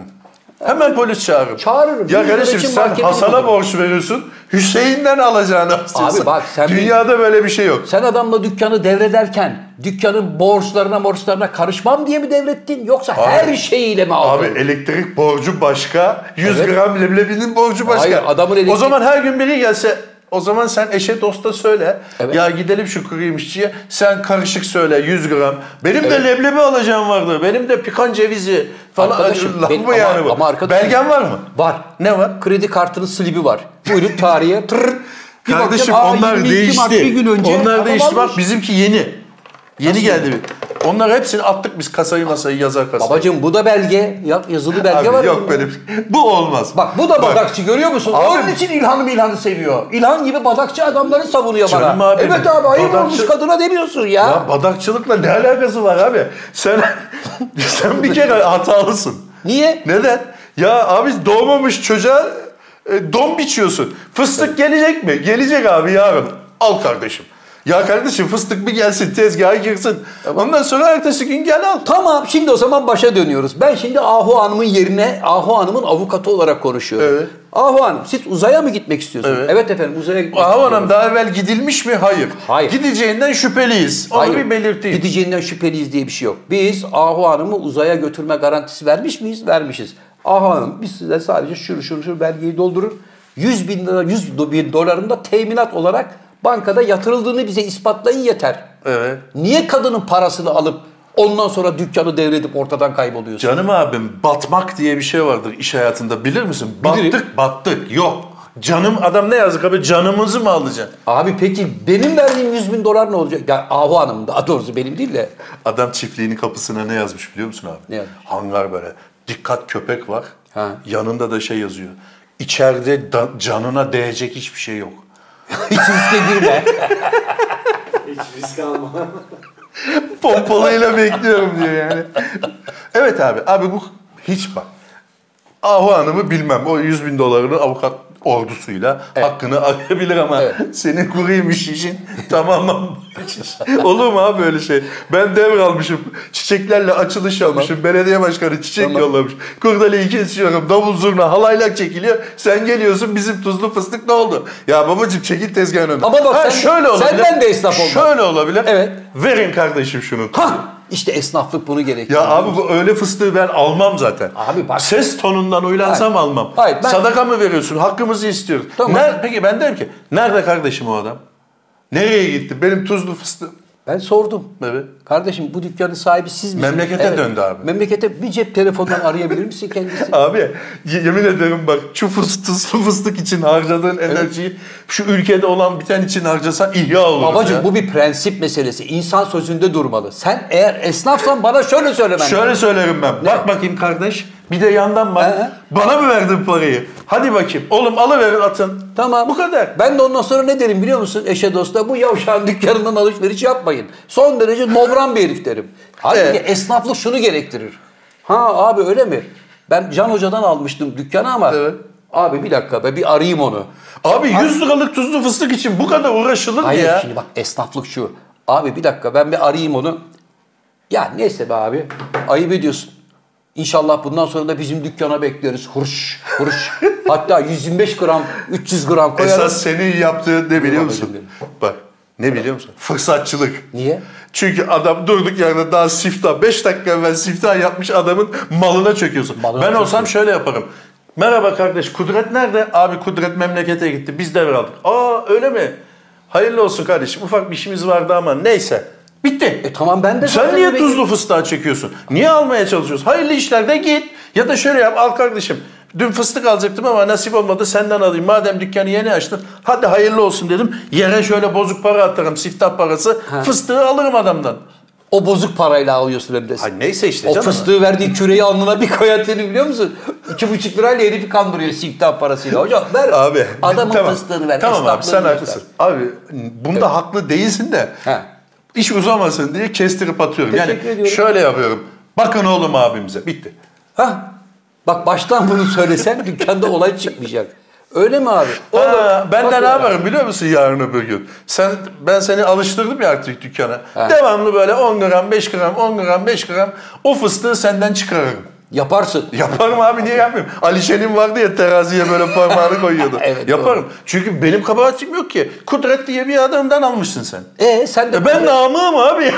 S2: Hemen polis çağırırım.
S1: Çağırırım.
S2: Ya
S1: Yüz lira
S2: kardeşim
S1: için
S2: sen
S1: markete
S2: Hasan'a
S1: gidiyorum.
S2: borç veriyorsun. Hüseyin'den alacağını istiyorsun.
S1: bak sen bir-
S2: Dünyada böyle bir şey yok.
S1: Sen adamla dükkanı devrederken dükkanın borçlarına borçlarına karışmam diye mi devrettin? Yoksa her şeyiyle mi aldın?
S2: Abi e, elektrik borcu başka, 100
S1: Evet.
S2: gram leblebinin borcu başka.
S1: Hayır, adamın elektrik-
S2: O zaman her gün biri gelse o zaman sen eşe dosta söyle.
S1: Evet.
S2: Ya gidelim şu kuru yemişçiye. Sen karışık söyle 100 gram. Benim de leblebi alacağım vardı. Benim de pikan cevizi falan.
S1: Arkadaşım,
S2: Lan
S1: benim-
S2: bu yani
S1: ama-
S2: bu.
S1: ama arkadaşım-
S2: Belgen var mı?
S1: Var.
S2: Ne var?
S1: Kredi kartının slibi var. Buyurun tarihe. Tırr. Bir
S2: Kardeşim
S1: bakacağım, aa,
S2: onlar
S1: 22
S2: değişti.
S1: Mart, bir gün önce adam
S2: onlar değişti.
S1: almış.
S2: Bak bizimki yeni. Yeni geldi. bir. Onlar hepsini attık biz kasayı masayı yazar kasayı.
S1: Babacım bu da belge. Ya, yazılı belge
S2: Abi
S1: var.
S2: yok
S1: elimde.
S2: böyle bir Bu olmaz.
S1: Bak bu da badakçı görüyor musun?
S2: Abi-
S1: Onun için İlhan'ı İlhan'ı seviyor. İlhan gibi badakçı adamları savunuyor
S2: Canım
S1: bana.
S2: abi,
S1: evet abi ayıp
S2: badakçı-
S1: olmuş kadına demiyorsun ya.
S2: Ya badakçılıkla ne alakası var abi? Sen sen bir kere hatalısın.
S1: Niye?
S2: Neden? Ya abi doğmamış çocuğa e, don biçiyorsun. Fıstık gelecek mi? Gelecek abi yarın. Al kardeşim. Ya kardeşim fıstık bir gelsin tezgaha girsin. Ondan sonra ertesi gün gel al.
S1: Tamam şimdi o zaman başa dönüyoruz. Ben şimdi Ahu Hanım'ın yerine Ahu Hanım'ın avukatı olarak konuşuyorum.
S2: Evet.
S1: Ahu Hanım siz uzaya mı gitmek istiyorsunuz?
S2: Evet.
S1: efendim uzaya gitmek
S2: Ahu
S1: istiyorum.
S2: Hanım daha evvel gidilmiş mi? Hayır.
S1: Hayır.
S2: Gideceğinden şüpheliyiz. Onu
S1: Hayır,
S2: bir belirteyim.
S1: Gideceğinden şüpheliyiz diye bir şey yok. Biz Ahu Hanım'ı uzaya götürme garantisi vermiş miyiz? Vermişiz. Ahu Hanım biz size sadece şunu şunu şunu belgeyi doldurun. 100 bin lira, 100 bin dolarında teminat olarak Bankada yatırıldığını bize ispatlayın yeter.
S2: Evet.
S1: Niye kadının parasını alıp ondan sonra dükkanı devredip ortadan kayboluyorsun?
S2: Canım abim batmak diye bir şey vardır iş hayatında bilir misin? Battık
S1: Bilirim.
S2: battık yok. Canım adam ne yazık abi canımızı mı alacaksın?
S1: Abi peki benim verdiğim 100 bin dolar ne olacak? Ya Ahu Hanım daha doğrusu benim değil de.
S2: Adam çiftliğinin kapısına ne yazmış biliyor musun abi?
S1: Ne yazmış?
S2: Hangar böyle. Dikkat köpek var.
S1: Ha.
S2: Yanında da şey yazıyor. İçeride da- canına değecek hiçbir şey yok.
S1: Hiç riske girme.
S3: Hiç risk alma.
S2: Pompalıyla bekliyorum diyor yani. Evet abi. Abi bu hiç bak. Ahu Hanım'ı bilmem. O 100 bin dolarını avukat ordusuyla hakkını arayabilir ama
S1: Evet.
S2: senin kuruymuş işin tamamen boş iş. Olur mu abi böyle şey? Ben devralmışım. Çiçeklerle açılış yapmışım. Belediye başkanı çiçek
S1: Tamam.
S2: yollamış. Kurdeleyi kesiyorum. Davul zurna halaylak çekiliyor. Sen geliyorsun bizim tuzlu fıstık ne oldu? Ya babacım çekil tezgahın önüne.
S1: Ama bak sen- senden de esnaf olmak.
S2: Şöyle olabilir.
S1: Evet.
S2: Verin kardeşim şunu.
S1: Hah! İşte esnaflık bunu gerektiriyor.
S2: Ya abi bu öyle fıstığı ben almam zaten.
S1: Abi bak-
S2: Ses tonundan uylansam
S1: Hayır.
S2: almam.
S1: Hayır, ben-
S2: Sadaka mı veriyorsun? Hakkımızı istiyoruz.
S1: Tamam.
S2: Ner- Peki ben derim ki nerede kardeşim o adam? Nereye gitti? Benim tuzlu fıstığım.
S1: Ben sordum.
S2: Evet.
S1: Kardeşim bu dükkanın sahibi siz misiniz?
S2: Memlekete döndü abi.
S1: Memlekete bir cep telefonundan arayabilir misin kendisi?
S2: Abi y- yemin ederim bak şu fıstık, tuzlu fıstık için harcadığın enerjiyi şu ülkede olan biten için harcasan ihya olur.
S1: Babacım bu bir prensip meselesi. İnsan sözünde durmalı. Sen eğer esnafsan bana şöyle söylemen.
S2: Şöyle söylerim ben. Bak bakayım kardeş. Bir de yandan bak.
S1: Ee?
S2: Bana mı verdin parayı? Hadi bakayım. Oğlum alıverin atın.
S1: Tamam.
S2: Bu kadar.
S1: Ben de ondan sonra ne derim biliyor musun eşe dosta? Bu yavşağın dükkanından alışveriş yapmayın. Son derece nobran bir herif derim. Halbuki
S2: Evet.
S1: esnaflık şunu gerektirir. Ha abi öyle mi? Ben Can Hoca'dan almıştım dükkanı ama
S2: Evet.
S1: abi bir dakika be bir arayayım onu.
S2: Abi 100 liralık tuzlu fıstık için bu kadar uğraşılır mı
S1: Hayır
S2: ya?
S1: şimdi bak esnaflık şu. Abi bir dakika ben bir arayayım onu. Ya neyse be abi ayıp ediyorsun. İnşallah bundan sonra da bizim dükkana bekleriz. Hurş, hurş. Hatta 125 gram, 300 gram koyarız.
S2: Esas senin yaptığın ne biliyor
S1: Yok,
S2: musun?
S1: özür
S2: Bak ne biliyor musun? Fırsatçılık.
S1: Niye?
S2: Çünkü adam durduk yerde daha siftah, 5 dakika evvel siftah yapmış adamın malına çöküyorsun.
S1: Malına
S2: ben
S1: çöküyorum.
S2: olsam şöyle yaparım. Merhaba kardeş, Kudret nerede? Abi Kudret memlekete gitti, biz devraldık. Aa öyle mi? Hayırlı olsun kardeşim, ufak bir işimiz vardı ama neyse. Bitti.
S1: E tamam ben de
S2: Sen
S1: zaten
S2: niye
S1: bekliyorum.
S2: tuzlu fıstığa çekiyorsun? Niye almaya çalışıyorsun? Hayırlı işlerde git. Ya da şöyle yap al kardeşim. Dün fıstık alacaktım ama nasip olmadı senden alayım. Madem dükkanı yeni açtın hadi hayırlı olsun dedim. Yere şöyle bozuk para atarım siftah parası. Fıstığı alırım adamdan.
S1: O bozuk parayla alıyorsun hem de.
S2: Ay neyse işte
S1: o
S2: canım.
S1: fıstığı verdiği küreyi alnına bir koyar seni biliyor musun? İki buçuk lirayla herifi kandırıyor siftah parasıyla. Hocam ver
S2: Abi.
S1: adamın
S2: tamam.
S1: fıstığını ver.
S2: Tamam abi sen
S1: esnaflığını
S2: haklısın.
S1: göster.
S2: Abi bunda haklı değilsin de
S1: Ha.
S2: iş uzamasın diye kestirip atıyorum. yani
S1: Teşekkür ediyorum.
S2: şöyle yapıyorum. Bakın oğlum abimize bitti.
S1: Hah. Bak baştan bunu söylesen dükkanda olay çıkmayacak. Öyle mi abi? Olur.
S2: Ha, ben
S1: Bak
S2: de ne
S1: öyle.
S2: yaparım biliyor musun yarın öbür gün? Sen, ben seni alıştırdım ya artık dükkana.
S1: Ha.
S2: Devamlı böyle 10 gram, 5 gram, 10 gram, 5 gram o fıstığı senden çıkarırım.
S1: Yaparsın.
S2: Yaparım abi niye yapmıyorum? Ali Şen'in vardı ya teraziye böyle parmağını koyuyordu.
S1: Evet,
S2: Yaparım. Çünkü benim kabahatim yok ki. Kudret diye bir adamdan almışsın sen.
S1: E sen de...
S2: E ben namığım abi ya.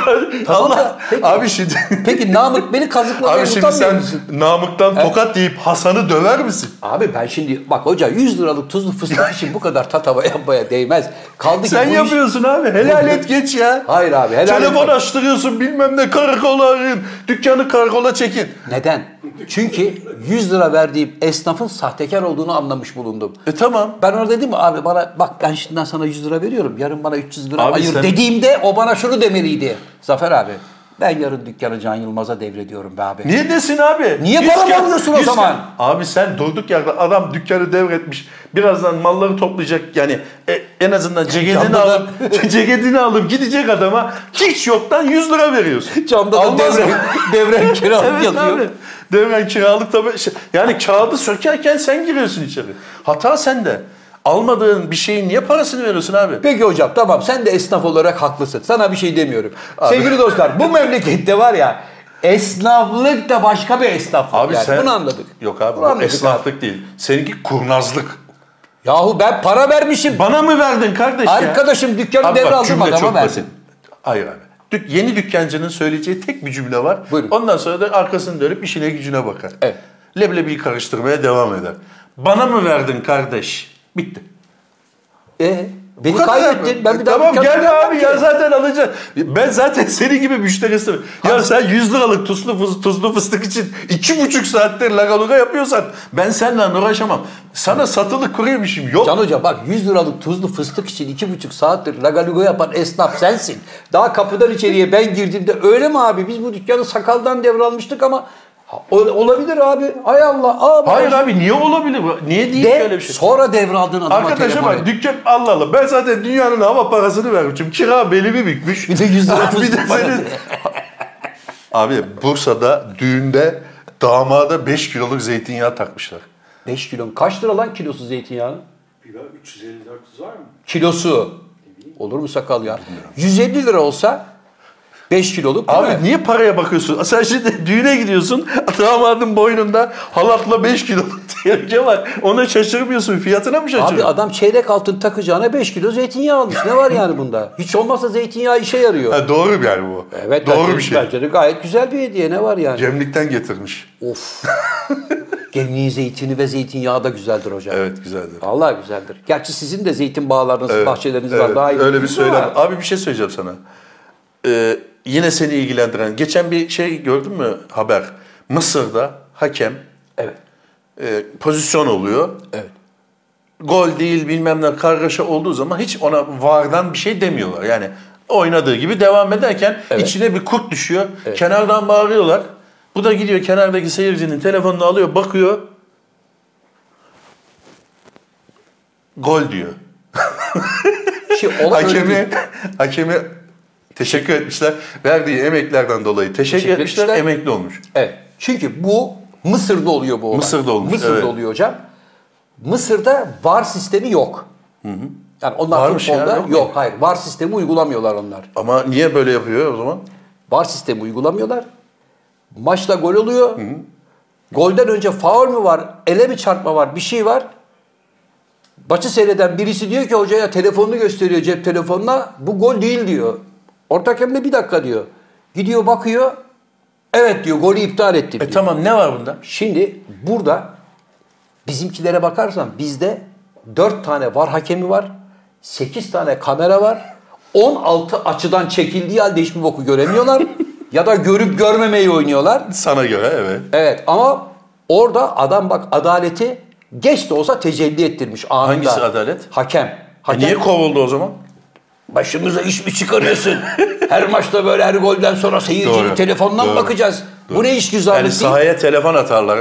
S1: Tamam da,
S2: Allah.
S1: peki.
S2: Abi şimdi...
S1: Peki Namık beni kazıklamaya
S2: Abi şimdi
S1: utanmıyor
S2: sen
S1: musun?
S2: namıktan tokat deyip Hasan'ı döver misin?
S1: Abi ben şimdi bak hoca 100 liralık tuzlu fıstık için bu kadar tatava yapmaya değmez. Kaldı ki
S2: Sen
S1: bu iş-
S2: yapıyorsun abi. Helal et geç ya.
S1: Hayır abi, helal
S2: Telefon
S1: et.
S2: açtırıyorsun bilmem ne karakola arayın. Dükkanı karakola çekin.
S1: Neden? Çünkü 100 lira verdiğim esnafın sahtekar olduğunu anlamış bulundum.
S2: E tamam.
S1: Ben ona dedim mi abi bana bak ben şimdiden sana 100 lira veriyorum yarın bana 300 lira
S2: Abi
S1: ayır
S2: sen-
S1: dediğimde o bana şunu demeliydi. Zafer abi ben yarın dükkanı Can Yılmaz'a devrediyorum be abi.
S2: Niye desin abi?
S1: Niye
S2: Yüz
S1: para
S2: kere-
S1: alıyorsun o
S2: yüz kere-
S1: zaman?
S2: Abi sen durduk yerde adam dükkanı devretmiş. Birazdan malları toplayacak yani e- en azından ceketini
S1: Camdan-
S2: alıp ceketini alıp gidecek adama hiç yoktan 100 lira veriyorsun.
S1: Camda da
S2: Almaz
S1: devren,
S2: mı?
S1: devren kiralık
S2: Evet
S1: yazıyor.
S2: abi. Devren kiralık tabii. şey- Yani kağıdı sökerken sen giriyorsun içeri. Hata sende. Almadığın bir şeyin niye parasını veriyorsun abi?
S1: Peki hocam tamam sen de esnaf olarak haklısın. Sana bir şey demiyorum. Sevgili dostlar bu memlekette var ya esnaflık da başka bir esnaflık.
S2: Abi
S1: yani.
S2: sen...
S1: Bunu anladık.
S2: Yok abi
S1: Bunu
S2: bu
S1: anladık
S2: esnaflık değil. Seninki kurnazlık.
S1: Yahu ben para vermişim.
S2: Bana mı verdin kardeş ya?
S1: Arkadaşım dükkanı
S2: Abi bak,
S1: devraldım
S2: cümle
S1: adama
S2: çok
S1: versin.
S2: basit. Hayır abi. Dük- yeni dükkancının söyleyeceği tek bir cümle var.
S1: Buyurun.
S2: Ondan sonra da arkasını dönüp işine gücüne bakar.
S1: Evet.
S2: Leblebiyi karıştırmaya devam eder. Bana mı verdin kardeş? Bitti.
S1: E Beni
S2: kadar
S1: kaybettin.
S2: mı? E,
S1: Ben bir daha
S2: tamam
S1: dükkan
S2: gel
S1: açamam
S2: abi
S1: ki.
S2: ya zaten alacağım. Ben zaten senin gibi müşterisim. Ya sen 100 liralık tuzlu, fıs- tuzlu fıstık için 2,5 saattir lagaluga yapıyorsan ben seninle uğraşamam. Sana satılık kuruyormuşum. Yok.
S1: Can Hoca bak 100 liralık tuzlu fıstık için iki buçuk saattir lagalugo yapan esnaf sensin. Daha kapıdan içeriye ben girdiğimde öyle mi abi biz bu dükkanı sakaldan devralmıştık ama Ha, o- olabilir abi. Hay Allah. Abi.
S2: Hayır abi niye olabilir? bu? Niye değil
S1: De,
S2: öyle bir şey?
S1: sonra devraldığın adama
S2: Arkadaşa
S1: telefon
S2: bak
S1: et.
S2: dükkan Allah Allah. Ben zaten dünyanın hava parasını vermişim. Kira belimi bükmüş.
S1: Bir de 100 lira
S2: bir de
S1: fıstık parası.
S2: senin- Abi Bursa'da düğünde damada 5 kiloluk zeytinyağı takmışlar.
S1: 5 kilo. Kaç lira lan kilosu zeytinyağı?
S3: Bir bak, 350-400 var mı?
S1: Kilosu. Olur mu sakal ya? 150 lira olsa 5 kiloluk değil
S2: Abi
S1: mi?
S2: niye paraya bakıyorsun? Sen şimdi düğüne gidiyorsun. Damadın boynunda halatla 5 kiloluk tehlike var. Ona şaşırmıyorsun. Fiyatına mı
S1: Abi
S2: şaşırıyorsun?
S1: adam çeyrek altın takacağına 5 kilo zeytinyağı almış. Ne var yani bunda? Hiç olmazsa zeytinyağı işe yarıyor.
S2: Ha, doğru bir yani bu.
S1: Evet
S2: doğru
S1: bence-
S2: bir şey.
S1: Bence de gayet güzel bir hediye ne var yani?
S2: Cemlik'ten getirmiş.
S1: Of. Gemliğin zeytini ve zeytinyağı da güzeldir hocam.
S2: Evet güzeldi.
S1: Vallahi güzeldir. Gerçi sizin de zeytin bağlarınız,
S2: Evet,
S1: bahçeleriniz var.
S2: evet.
S1: Daha iyi
S2: Öyle bir
S1: bilirsiniz
S2: söylem.
S1: ama-
S2: Abi bir şey söyleyeceğim sana. Ee, yine seni ilgilendiren. Geçen bir şey gördün mü haber? Mısır'da hakem
S1: Evet.
S2: e, pozisyon oluyor.
S1: Evet.
S2: Gol değil bilmem ne kargaşa olduğu zaman hiç ona vardan bir şey demiyorlar. Yani oynadığı gibi devam ederken
S1: Evet.
S2: içine bir kurt düşüyor. Kenardan bağırıyorlar. Bu da gidiyor kenardaki seyircinin telefonunu alıyor bakıyor. Gol diyor.
S1: Şey, olan öyle değil.
S2: Hakemi, hakemi teşekkür etmişler. Verdiği emeklerden dolayı teşekkür,
S1: Teşekkür
S2: etmişler.
S1: etmişler.
S2: Emekli olmuş.
S1: Evet. Çünkü bu Mısır'da oluyor bu olay.
S2: Mısır'da olmuş,
S1: Mısır'da
S2: evet.
S1: oluyor hocam. Mısır'da var sistemi yok. Yani onlar
S2: Varmış ya,
S1: futbolda
S2: yok
S1: yok,
S2: mu?
S1: hayır. Var sistemi uygulamıyorlar onlar.
S2: Ama niye böyle yapıyor o zaman?
S1: Var sistemi uygulamıyorlar. Maçta gol oluyor. Golden önce faul mü var, ele mi çarpma var, bir şey var. Maçı seyreden birisi diyor ki hocaya telefonunu gösteriyor cep telefonuna. Bu gol değil diyor. Orta hakem de bir dakika diyor. Gidiyor bakıyor. Evet diyor golü iptal ettim
S2: E
S1: diyor.
S2: tamam ne var bunda?
S1: Şimdi burada bizimkilere bakarsan bizde 4 tane var hakemi var. 8 tane kamera var. 16 açıdan çekildiği halde hiçbir boku göremiyorlar. ya da görüp görmemeyi oynuyorlar.
S2: Sana göre evet.
S1: Evet ama orada adam bak adaleti geç de olsa tecelli ettirmiş anında.
S2: Hangisi adalet?
S1: Hakem.
S2: E
S1: Hakem
S2: niye kovuldu o zaman?
S1: başımıza iş mi çıkarıyorsun? her maçta böyle her golden sonra
S2: Doğru.
S1: seyircinin telefonuna
S2: Doğru.
S1: mı bakacağız? Bu
S2: Doğru.
S1: ne iş
S2: Yani
S1: güzellik değil?
S2: sahaya telefon atarlar.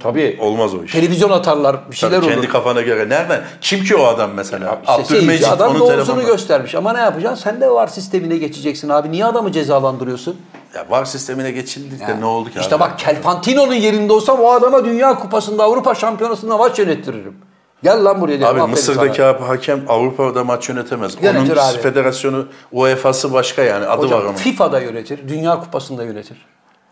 S1: Tabii.
S2: Olmaz o iş.
S1: Televizyon atarlar bir şeyler
S2: Tabii,
S1: olur.
S2: kendi kafana göre. Nereden? Kim ki o adam mesela?
S1: İşte seyirci adam
S2: onun
S1: doğrusunu
S2: telefonu.
S1: göstermiş. Ama ne yapacaksın? Sen de var sistemine geçeceksin abi. Niye adamı cezalandırıyorsun?
S2: Ya var sistemine geçildik de ne oldu ki
S1: İşte
S2: abi?
S1: bak Kelfantino'nun yerinde olsam o adama Dünya Kupası'nda Avrupa Şampiyonası'nda maç yönettiririm. Gel lan buraya derim.
S2: Abi
S1: aferin
S2: Mısır'daki
S1: sana.
S2: abi hakem Avrupa'da maç yönetemez.
S1: Yönetir
S2: Onun
S1: abi.
S2: federasyonu UEFA'sı başka yani adı
S1: Hocam,
S2: var onun.
S1: FIFA'da yönetir. Dünya Kupası'nda yönetir.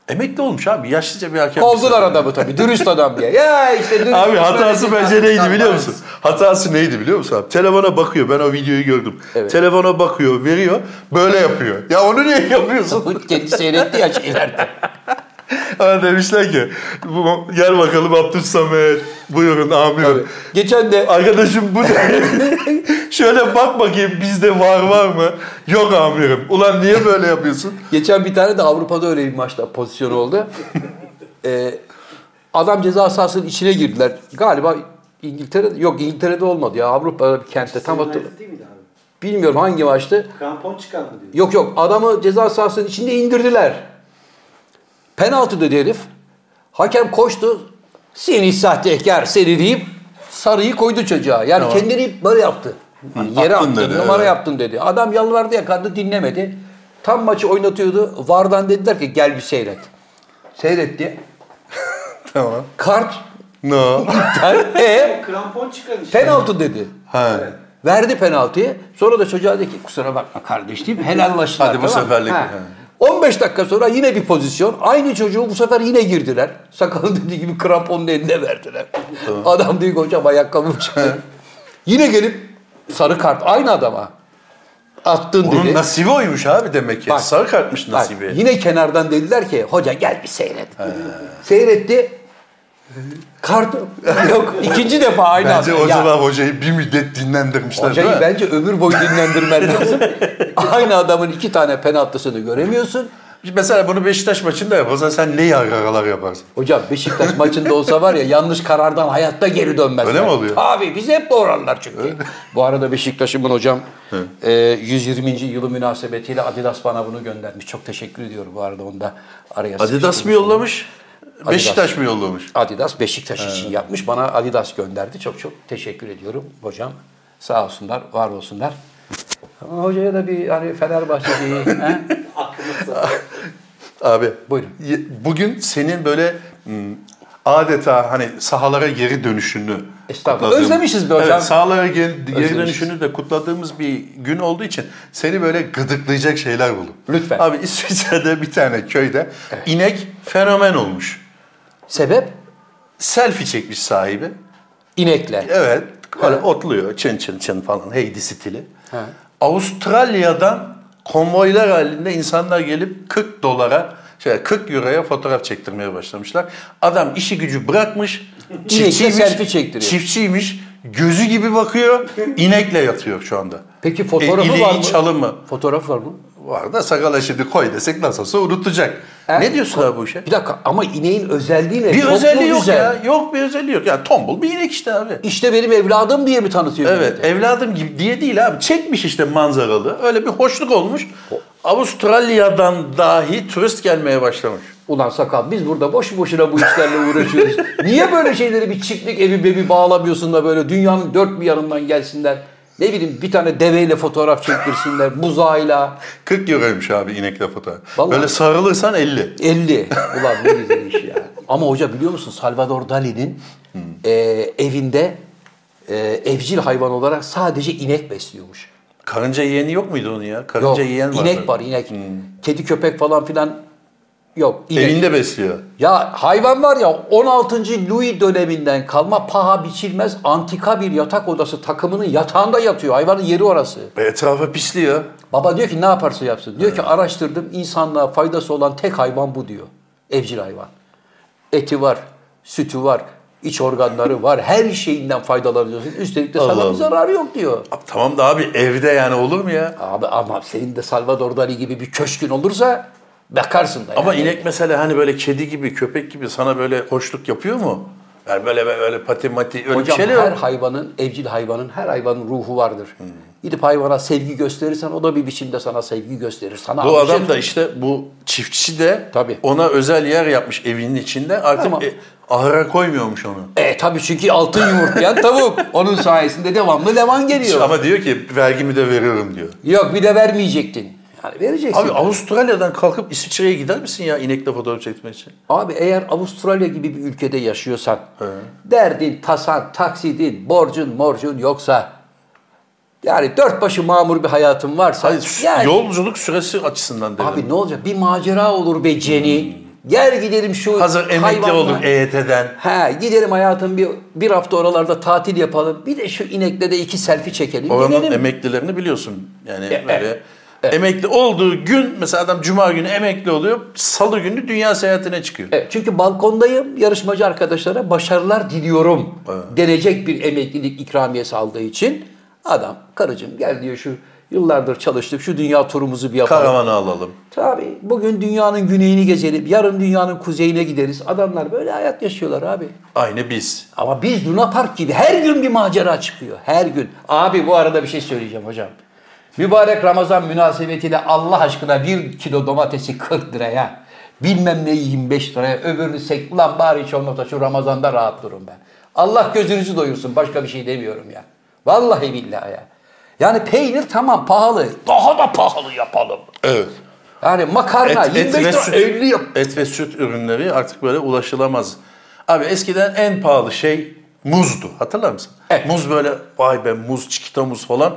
S2: Emekli olmuş abi. Yaşlıca bir hakem.
S1: Kovdular
S2: Bizde.
S1: adamı tabii. Dürüst adam diye. Ya işte dürüst.
S2: Abi hatası
S1: Söyledi,
S2: bence neydi
S1: tartışan
S2: biliyor
S1: var.
S2: musun? Hatası neydi biliyor musun abi? Telefona bakıyor. Ben o videoyu gördüm.
S1: Evet.
S2: Telefona bakıyor, veriyor. Böyle yapıyor. Ya onu niye yapıyorsun?
S1: Bu Kendi seyretti ya şeylerde.
S2: ha demişler ki bu, gel bakalım Abdülsamet. Buyurun amirim.
S1: Geçen de
S2: Arkadaşım bu ne? Şöyle bak bakayım bizde var var mı? Yok amirim. Ulan niye böyle yapıyorsun?
S1: Geçen bir tane de Avrupa'da öyle bir maçta pozisyon oldu. Ee, adam ceza sahasının içine girdiler. Galiba İngiltere'de, yok İngiltere'de olmadı ya Avrupa'da bir kentte tam
S3: United
S1: hatırlamıyorum.
S3: değil miydi abi?
S1: Bilmiyorum hangi maçtı.
S3: Krampon çıkan mı diyor?
S1: Yok yok adamı ceza sahasının içinde indirdiler. Penaltı dedi herif. Hakem koştu. Seni sahtekar seni deyip sarıyı koydu çocuğa. Yani
S2: Tamam.
S1: kendini böyle yaptı. Yani yere
S2: Attın
S1: attın,
S2: dedi,
S1: numara
S2: evet.
S1: yaptın dedi. Adam yalvardı yakardı dinlemedi. Tam maçı oynatıyordu. Vardan dediler ki gel bir seyret. Seyretti.
S2: Tamam.
S1: Kart.
S2: No.
S1: ter- e,
S3: Krampon çıkan işte.
S1: penaltı dedi.
S2: ha.
S1: Verdi penaltıyı. Sonra da çocuğa dedi ki kusura bakma kardeş deyip helallaştılar.
S2: Hadi bu
S1: tamam mı?
S2: seferlik.
S1: Ha.
S2: Ha.
S1: 15 dakika sonra yine bir pozisyon. Aynı çocuğu bu sefer yine girdiler. Sakalı dediği gibi kramponun eline verdiler. Adam diyor ki hocam ayakkabım çıktı. yine gelip sarı kart aynı adama. Attın
S2: Bunun
S1: dedi.
S2: nasibi oymuş abi demek ki.
S1: Bak.
S2: Sarı kartmış
S1: Bak,
S2: nasibi.
S1: yine kenardan dediler ki hoca gel bir seyret. Seyretti. Kart yok ikinci defa aynı
S2: Bence
S1: hafta.
S2: o
S1: Ya,
S2: zaman hocayı bir müddet dinlendirmişler
S1: hocayı
S2: değil mi?
S1: bence ömür boyu dinlendirmen lazım. aynı adamın iki tane penaltısını göremiyorsun.
S2: Mesela bunu Beşiktaş maçında yaparsan sen ne yargılar yaparsın?
S1: Hocam Beşiktaş maçında olsa var ya yanlış karardan hayatta geri dönmezler.
S2: Öyle mi oluyor?
S1: Abi biz hep doğranlar çünkü. Bu arada Beşiktaş'ımın hocam e, 120. yılı münasebetiyle Adidas bana bunu göndermiş. Çok teşekkür ediyorum bu arada onda araya
S2: Adidas
S1: sıkıştırmış
S2: mı
S1: oldum.
S2: yollamış? Beşiktaş mı yollamış?
S1: Adidas Beşiktaş için yapmış. Bana Adidas gönderdi. Çok çok teşekkür ediyorum hocam. Sağ olsunlar, var olsunlar. Ama hocaya da bir hani Fenerbahçe diye. he?
S3: Aklımızda.
S2: Abi
S1: Buyurun.
S2: ye- Bugün senin böyle m, adeta hani sahalara geri dönüşünü
S1: Estağfurullah.
S2: kutladığım-
S1: Özlemişiz be hocam.
S2: Evet, sahalara geri, geri
S1: Özlemişiz.
S2: dönüşünü de kutladığımız bir gün olduğu için seni böyle gıdıklayacak şeyler buldum.
S1: Lütfen.
S2: Abi İsviçre'de bir tane köyde inek fenomen olmuş.
S1: Sebep?
S2: Selfie çekmiş sahibi.
S1: İnekle.
S2: Evet. Böyle otluyor. Çın çın çın falan. Heydi stili.
S1: He.
S2: Avustralya'dan konvoylar halinde insanlar gelip 40 dolara şey 40 euroya fotoğraf çektirmeye başlamışlar. Adam işi gücü bırakmış. Çiftçiymiş.
S1: selfie çektiriyor.
S2: Çiftçiymiş. Gözü gibi bakıyor. inekle yatıyor şu anda.
S1: Peki fotoğrafı
S2: İleği
S1: var mı?
S2: çalımı.
S1: Fotoğraf var mı?
S2: Var da sakala şimdi koy desek nasıl olsa unutacak.
S1: E,
S2: ne diyorsun abi bu işe?
S1: Bir dakika ama ineğin özelliği ne?
S2: Bir
S1: Çok mu
S2: özelliği yok
S1: güzel?
S2: ya. Yok bir özelliği yok. Ya tombul bir inek işte abi.
S1: İşte benim evladım diye mi tanıtıyor?
S2: Evet
S1: millete?
S2: evladım gibi diye değil abi çekmiş işte manzaralı öyle bir hoşluk olmuş. Avustralya'dan dahi turist gelmeye başlamış.
S1: Ulan sakal biz burada boş boşuna bu işlerle uğraşıyoruz. Niye böyle şeyleri bir çiftlik evi bebi bağlamıyorsun da böyle dünyanın dört bir yanından gelsinler. Ne bileyim bir tane deveyle fotoğraf çektirsinler. Buzağıyla
S2: 40 euroymuş abi inekle fotoğraf.
S1: Vallahi.
S2: Böyle sarılırsan 50.
S1: 50. Ulan ne güzel iş ya. Ama hoca biliyor musun Salvador Dali'nin e, evinde e, evcil hayvan olarak sadece inek besliyormuş.
S2: Karınca yiyeni yok muydu onun ya?
S1: Yok
S2: Karınca yiyen var. Hmm.
S1: inek var inek. Kedi köpek falan filan yok. inek.
S2: Evinde besliyor.
S1: Ya hayvan var ya 16. Louis döneminden kalma paha biçilmez antika bir yatak odası takımının yatağında yatıyor. Hayvanın yeri orası.
S2: Ve etrafa pisliyor.
S1: Baba diyor ki ne yaparsa yapsın. Diyor ki araştırdım insanlığa faydası olan tek hayvan bu diyor. Evcil hayvan. Eti var, sütü var, iç organları var. Her şeyinden faydalanıyorsun. Üstelik de
S2: Allah
S1: sana
S2: Allah.
S1: bir zararı yok diyor.
S2: Abi, tamam da abi evde yani olur mu ya?
S1: Abi ama senin de Salvador Dali gibi bir köşkün olursa bakarsın da.
S2: Ama
S1: yani.
S2: inek mesela hani böyle kedi gibi köpek gibi sana böyle hoşluk yapıyor mu? Yani böyle böyle pati mati öyle bir
S1: Hocam
S2: şeyler
S1: her
S2: yok.
S1: hayvanın, evcil hayvanın, her hayvanın ruhu vardır. Gidip hayvana sevgi gösterirsen o da bir biçimde sana sevgi gösterir. Sana
S2: Bu
S1: alışır.
S2: adam da işte bu çiftçi de
S1: Tabii.
S2: ona özel yer yapmış evinin içinde. Artık
S1: Tamam.
S2: e, ahıra koymuyormuş onu.
S1: E tabii çünkü altın yumurtlayan tavuk. Onun sayesinde devamlı leman geliyor.
S2: Ama diyor ki vergimi de veriyorum diyor.
S1: Yok bir de vermeyecektin. Yani vereceksin.
S2: Abi
S1: Abi,
S2: Avustralya'dan kalkıp İsviçre'ye gider misin ya inekle fotoğraf çekmek için?
S1: eğer Avustralya gibi bir ülkede yaşıyorsan, derdin, tasan, taksidin, borcun, morcun yoksa, yani dört başı mamur bir hayatın varsa,
S2: Hayır, sü-
S1: yani-
S2: yolculuk süresi açısından dedim.
S1: Abi ne olacak? Bir macera olur be Ceni. Gel gidelim şu
S2: Hmm. Hazır emekli E
S1: hayvanla-
S2: olur EYT'den.
S1: He gidelim hayatım bir, bir hafta oralarda tatil yapalım. Bir de şu inekle de iki selfie çekelim.
S2: Oranın
S1: Gelelim.
S2: emeklilerini biliyorsun. Yani
S1: E,
S2: böyle
S1: evet. Evet.
S2: emekli olduğu gün mesela adam cuma günü emekli oluyor. Salı günü dünya seyahatine çıkıyor.
S1: Evet, çünkü balkondayım yarışmacı arkadaşlara başarılar diliyorum denecek bir emeklilik ikramiyesi aldığı için adam karıcığım gel diyor şu yıllardır çalıştık şu dünya turumuzu bir yapalım.
S2: Karavanı alalım.
S1: Tabii bugün dünyanın güneyini gezelim yarın dünyanın kuzeyine gideriz. Adamlar böyle hayat yaşıyorlar abi.
S2: Aynı biz.
S1: Ama biz Luna Park gibi her gün bir macera çıkıyor. Her gün. Abi bu arada bir şey söyleyeceğim hocam. Mübarek Ramazan münasebetiyle Allah aşkına bir kilo domatesi 40 liraya. Bilmem ne 25 liraya. Öbürünü sek. Ulan bari hiç olmazsa şu Ramazan'da rahat durun ben. Allah gözünüzü doyursun. Başka bir şey demiyorum ya. Vallahi billahi ya. Yani peynir tamam pahalı. Daha da pahalı yapalım.
S2: Evet.
S1: Yani makarna 25 lira 50 yap.
S2: et ve süt ürünleri artık böyle ulaşılamaz. Abi eskiden en pahalı şey muzdu. Hatırlar mısın?
S1: Evet.
S2: Muz böyle vay be muz, çikita muz falan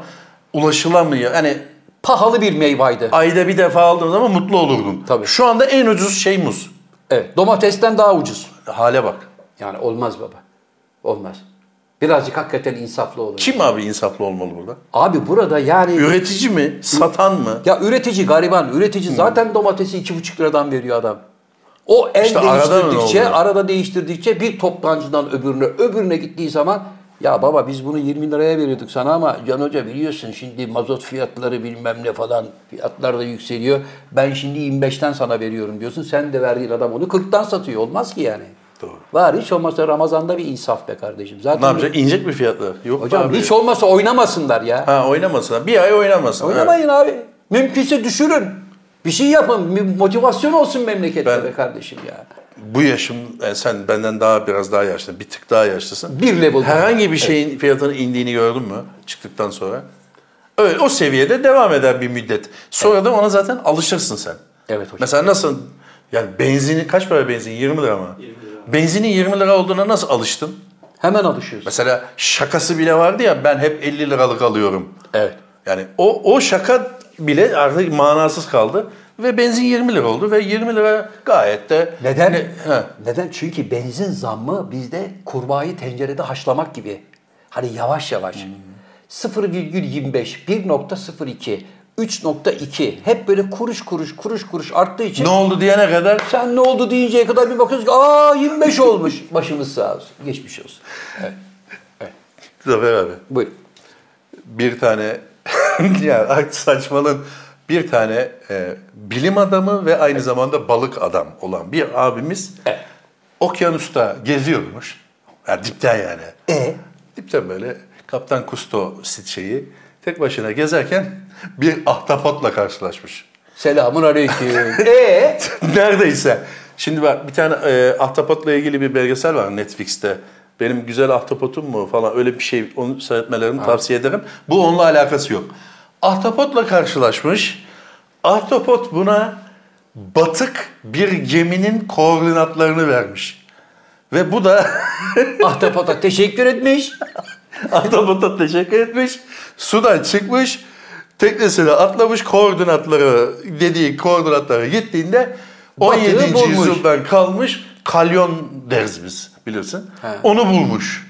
S2: ulaşılamıyor. Hani
S1: Pahalı bir meyvaydı.
S2: ayda bir defa aldığın zaman mutlu olurdun.
S1: Tabii.
S2: Şu anda en ucuz şey muz.
S1: Evet, domatesten daha ucuz.
S2: Hale bak.
S1: Yani olmaz baba. Olmaz. Birazcık hakikaten insaflı olun.
S2: Kim abi insaflı olmalı burada?
S1: Abi burada yani
S2: Üretici mi? Satan mı?
S1: ya üretici gariban, üretici zaten domatesi iki buçuk liradan veriyor adam. O el
S2: İşte arada ne
S1: değiştirdikçe,
S2: oluyor?
S1: arada değiştirdikçe bir toptancıdan öbürüne, öbürüne gittiği zaman ya baba biz bunu 20 liraya veriyorduk sana ama Can Hoca biliyorsun şimdi mazot fiyatları bilmem ne falan fiyatlar da yükseliyor. Ben şimdi 25'ten sana veriyorum diyorsun. Sen de verdiğin adam onu 40'tan satıyor. Olmaz ki yani.
S2: Doğru.
S1: Var hiç olmazsa Ramazan'da bir insaf be kardeşim. Zaten
S2: Ne yapacak? İnecek mi fiyatlar? Yok be
S1: Hocam
S2: abi.
S1: hiç olmazsa oynamasınlar ya.
S2: Ha oynamasın. Bir ay oynamasın. Evet.
S1: Oynamayın abi. Mümkünse düşürün. Bir şey yapın. Bir motivasyon olsun memlekette
S2: Ben-
S1: be kardeşim ya.
S2: Bu yaşım yani sen benden daha biraz daha yaşlı, bir tık daha yaşlısın.
S1: Bir level daha.
S2: Herhangi bir şeyin fiyatının indiğini gördün mü çıktıktan sonra? Öyle o seviyede devam eder bir müddet. Sonra da ona zaten alışırsın sen.
S1: Evet hocam.
S2: Mesela nasıl yani benzini kaç para benzin? 20 lira mı?
S3: 20 lira.
S2: Benzinin 20 lira olduğuna nasıl alıştın?
S1: Hemen alışıyorsun.
S2: Mesela şakası bile vardı ya ben hep 50 liralık alıyorum.
S1: Evet.
S2: Yani o o şaka bile artık manasız kaldı ve benzin 20 lira oldu ve 20 lira gayet de
S1: Neden?
S2: Ne- he.
S1: Neden? Çünkü benzin zammı bizde kurbağayı tencerede haşlamak gibi. Hani yavaş yavaş.
S2: Hmm.
S1: 0,25, 1.02, 3.2 hep böyle kuruş kuruş kuruş kuruş arttığı için
S2: Ne oldu diyene kadar
S1: sen ne oldu deyinceye kadar bir bakıyoruz ki aa 25 olmuş. Başımız sağ olsun. Geçmiş olsun.
S2: Zafer abi
S1: Buyur.
S2: bir tane yani artık saçmalığın bir tane e, bilim adamı ve aynı zamanda balık adam olan bir abimiz
S1: Evet.
S2: okyanusta geziyormuş. Yani dipten yani.
S1: E
S2: Dipten böyle Kaptan Kusto sit- şeyi tek başına gezerken bir ahtapotla karşılaşmış.
S1: selamun aleyküm.
S2: Ee?
S1: e
S2: Neredeyse. Şimdi bak bir tane e, ahtapotla ilgili bir belgesel var Netflix'te. Benim güzel ahtapotum mu falan öyle bir şey onu seyretmelerini tavsiye ederim. Bu onunla alakası yok. Ahtapotla karşılaşmış. Ahtapot buna batık bir geminin koordinatlarını vermiş. Ve bu da
S1: ahtapota teşekkür etmiş.
S2: ahtapota teşekkür etmiş. Sudan çıkmış. Teknesine atlamış koordinatları dediği koordinatlara gittiğinde
S1: Batığı
S2: 17.
S1: bulmuş.
S2: yüzyıldan kalmış kalyon deriz biz bilirsin.
S1: He.
S2: Onu bulmuş.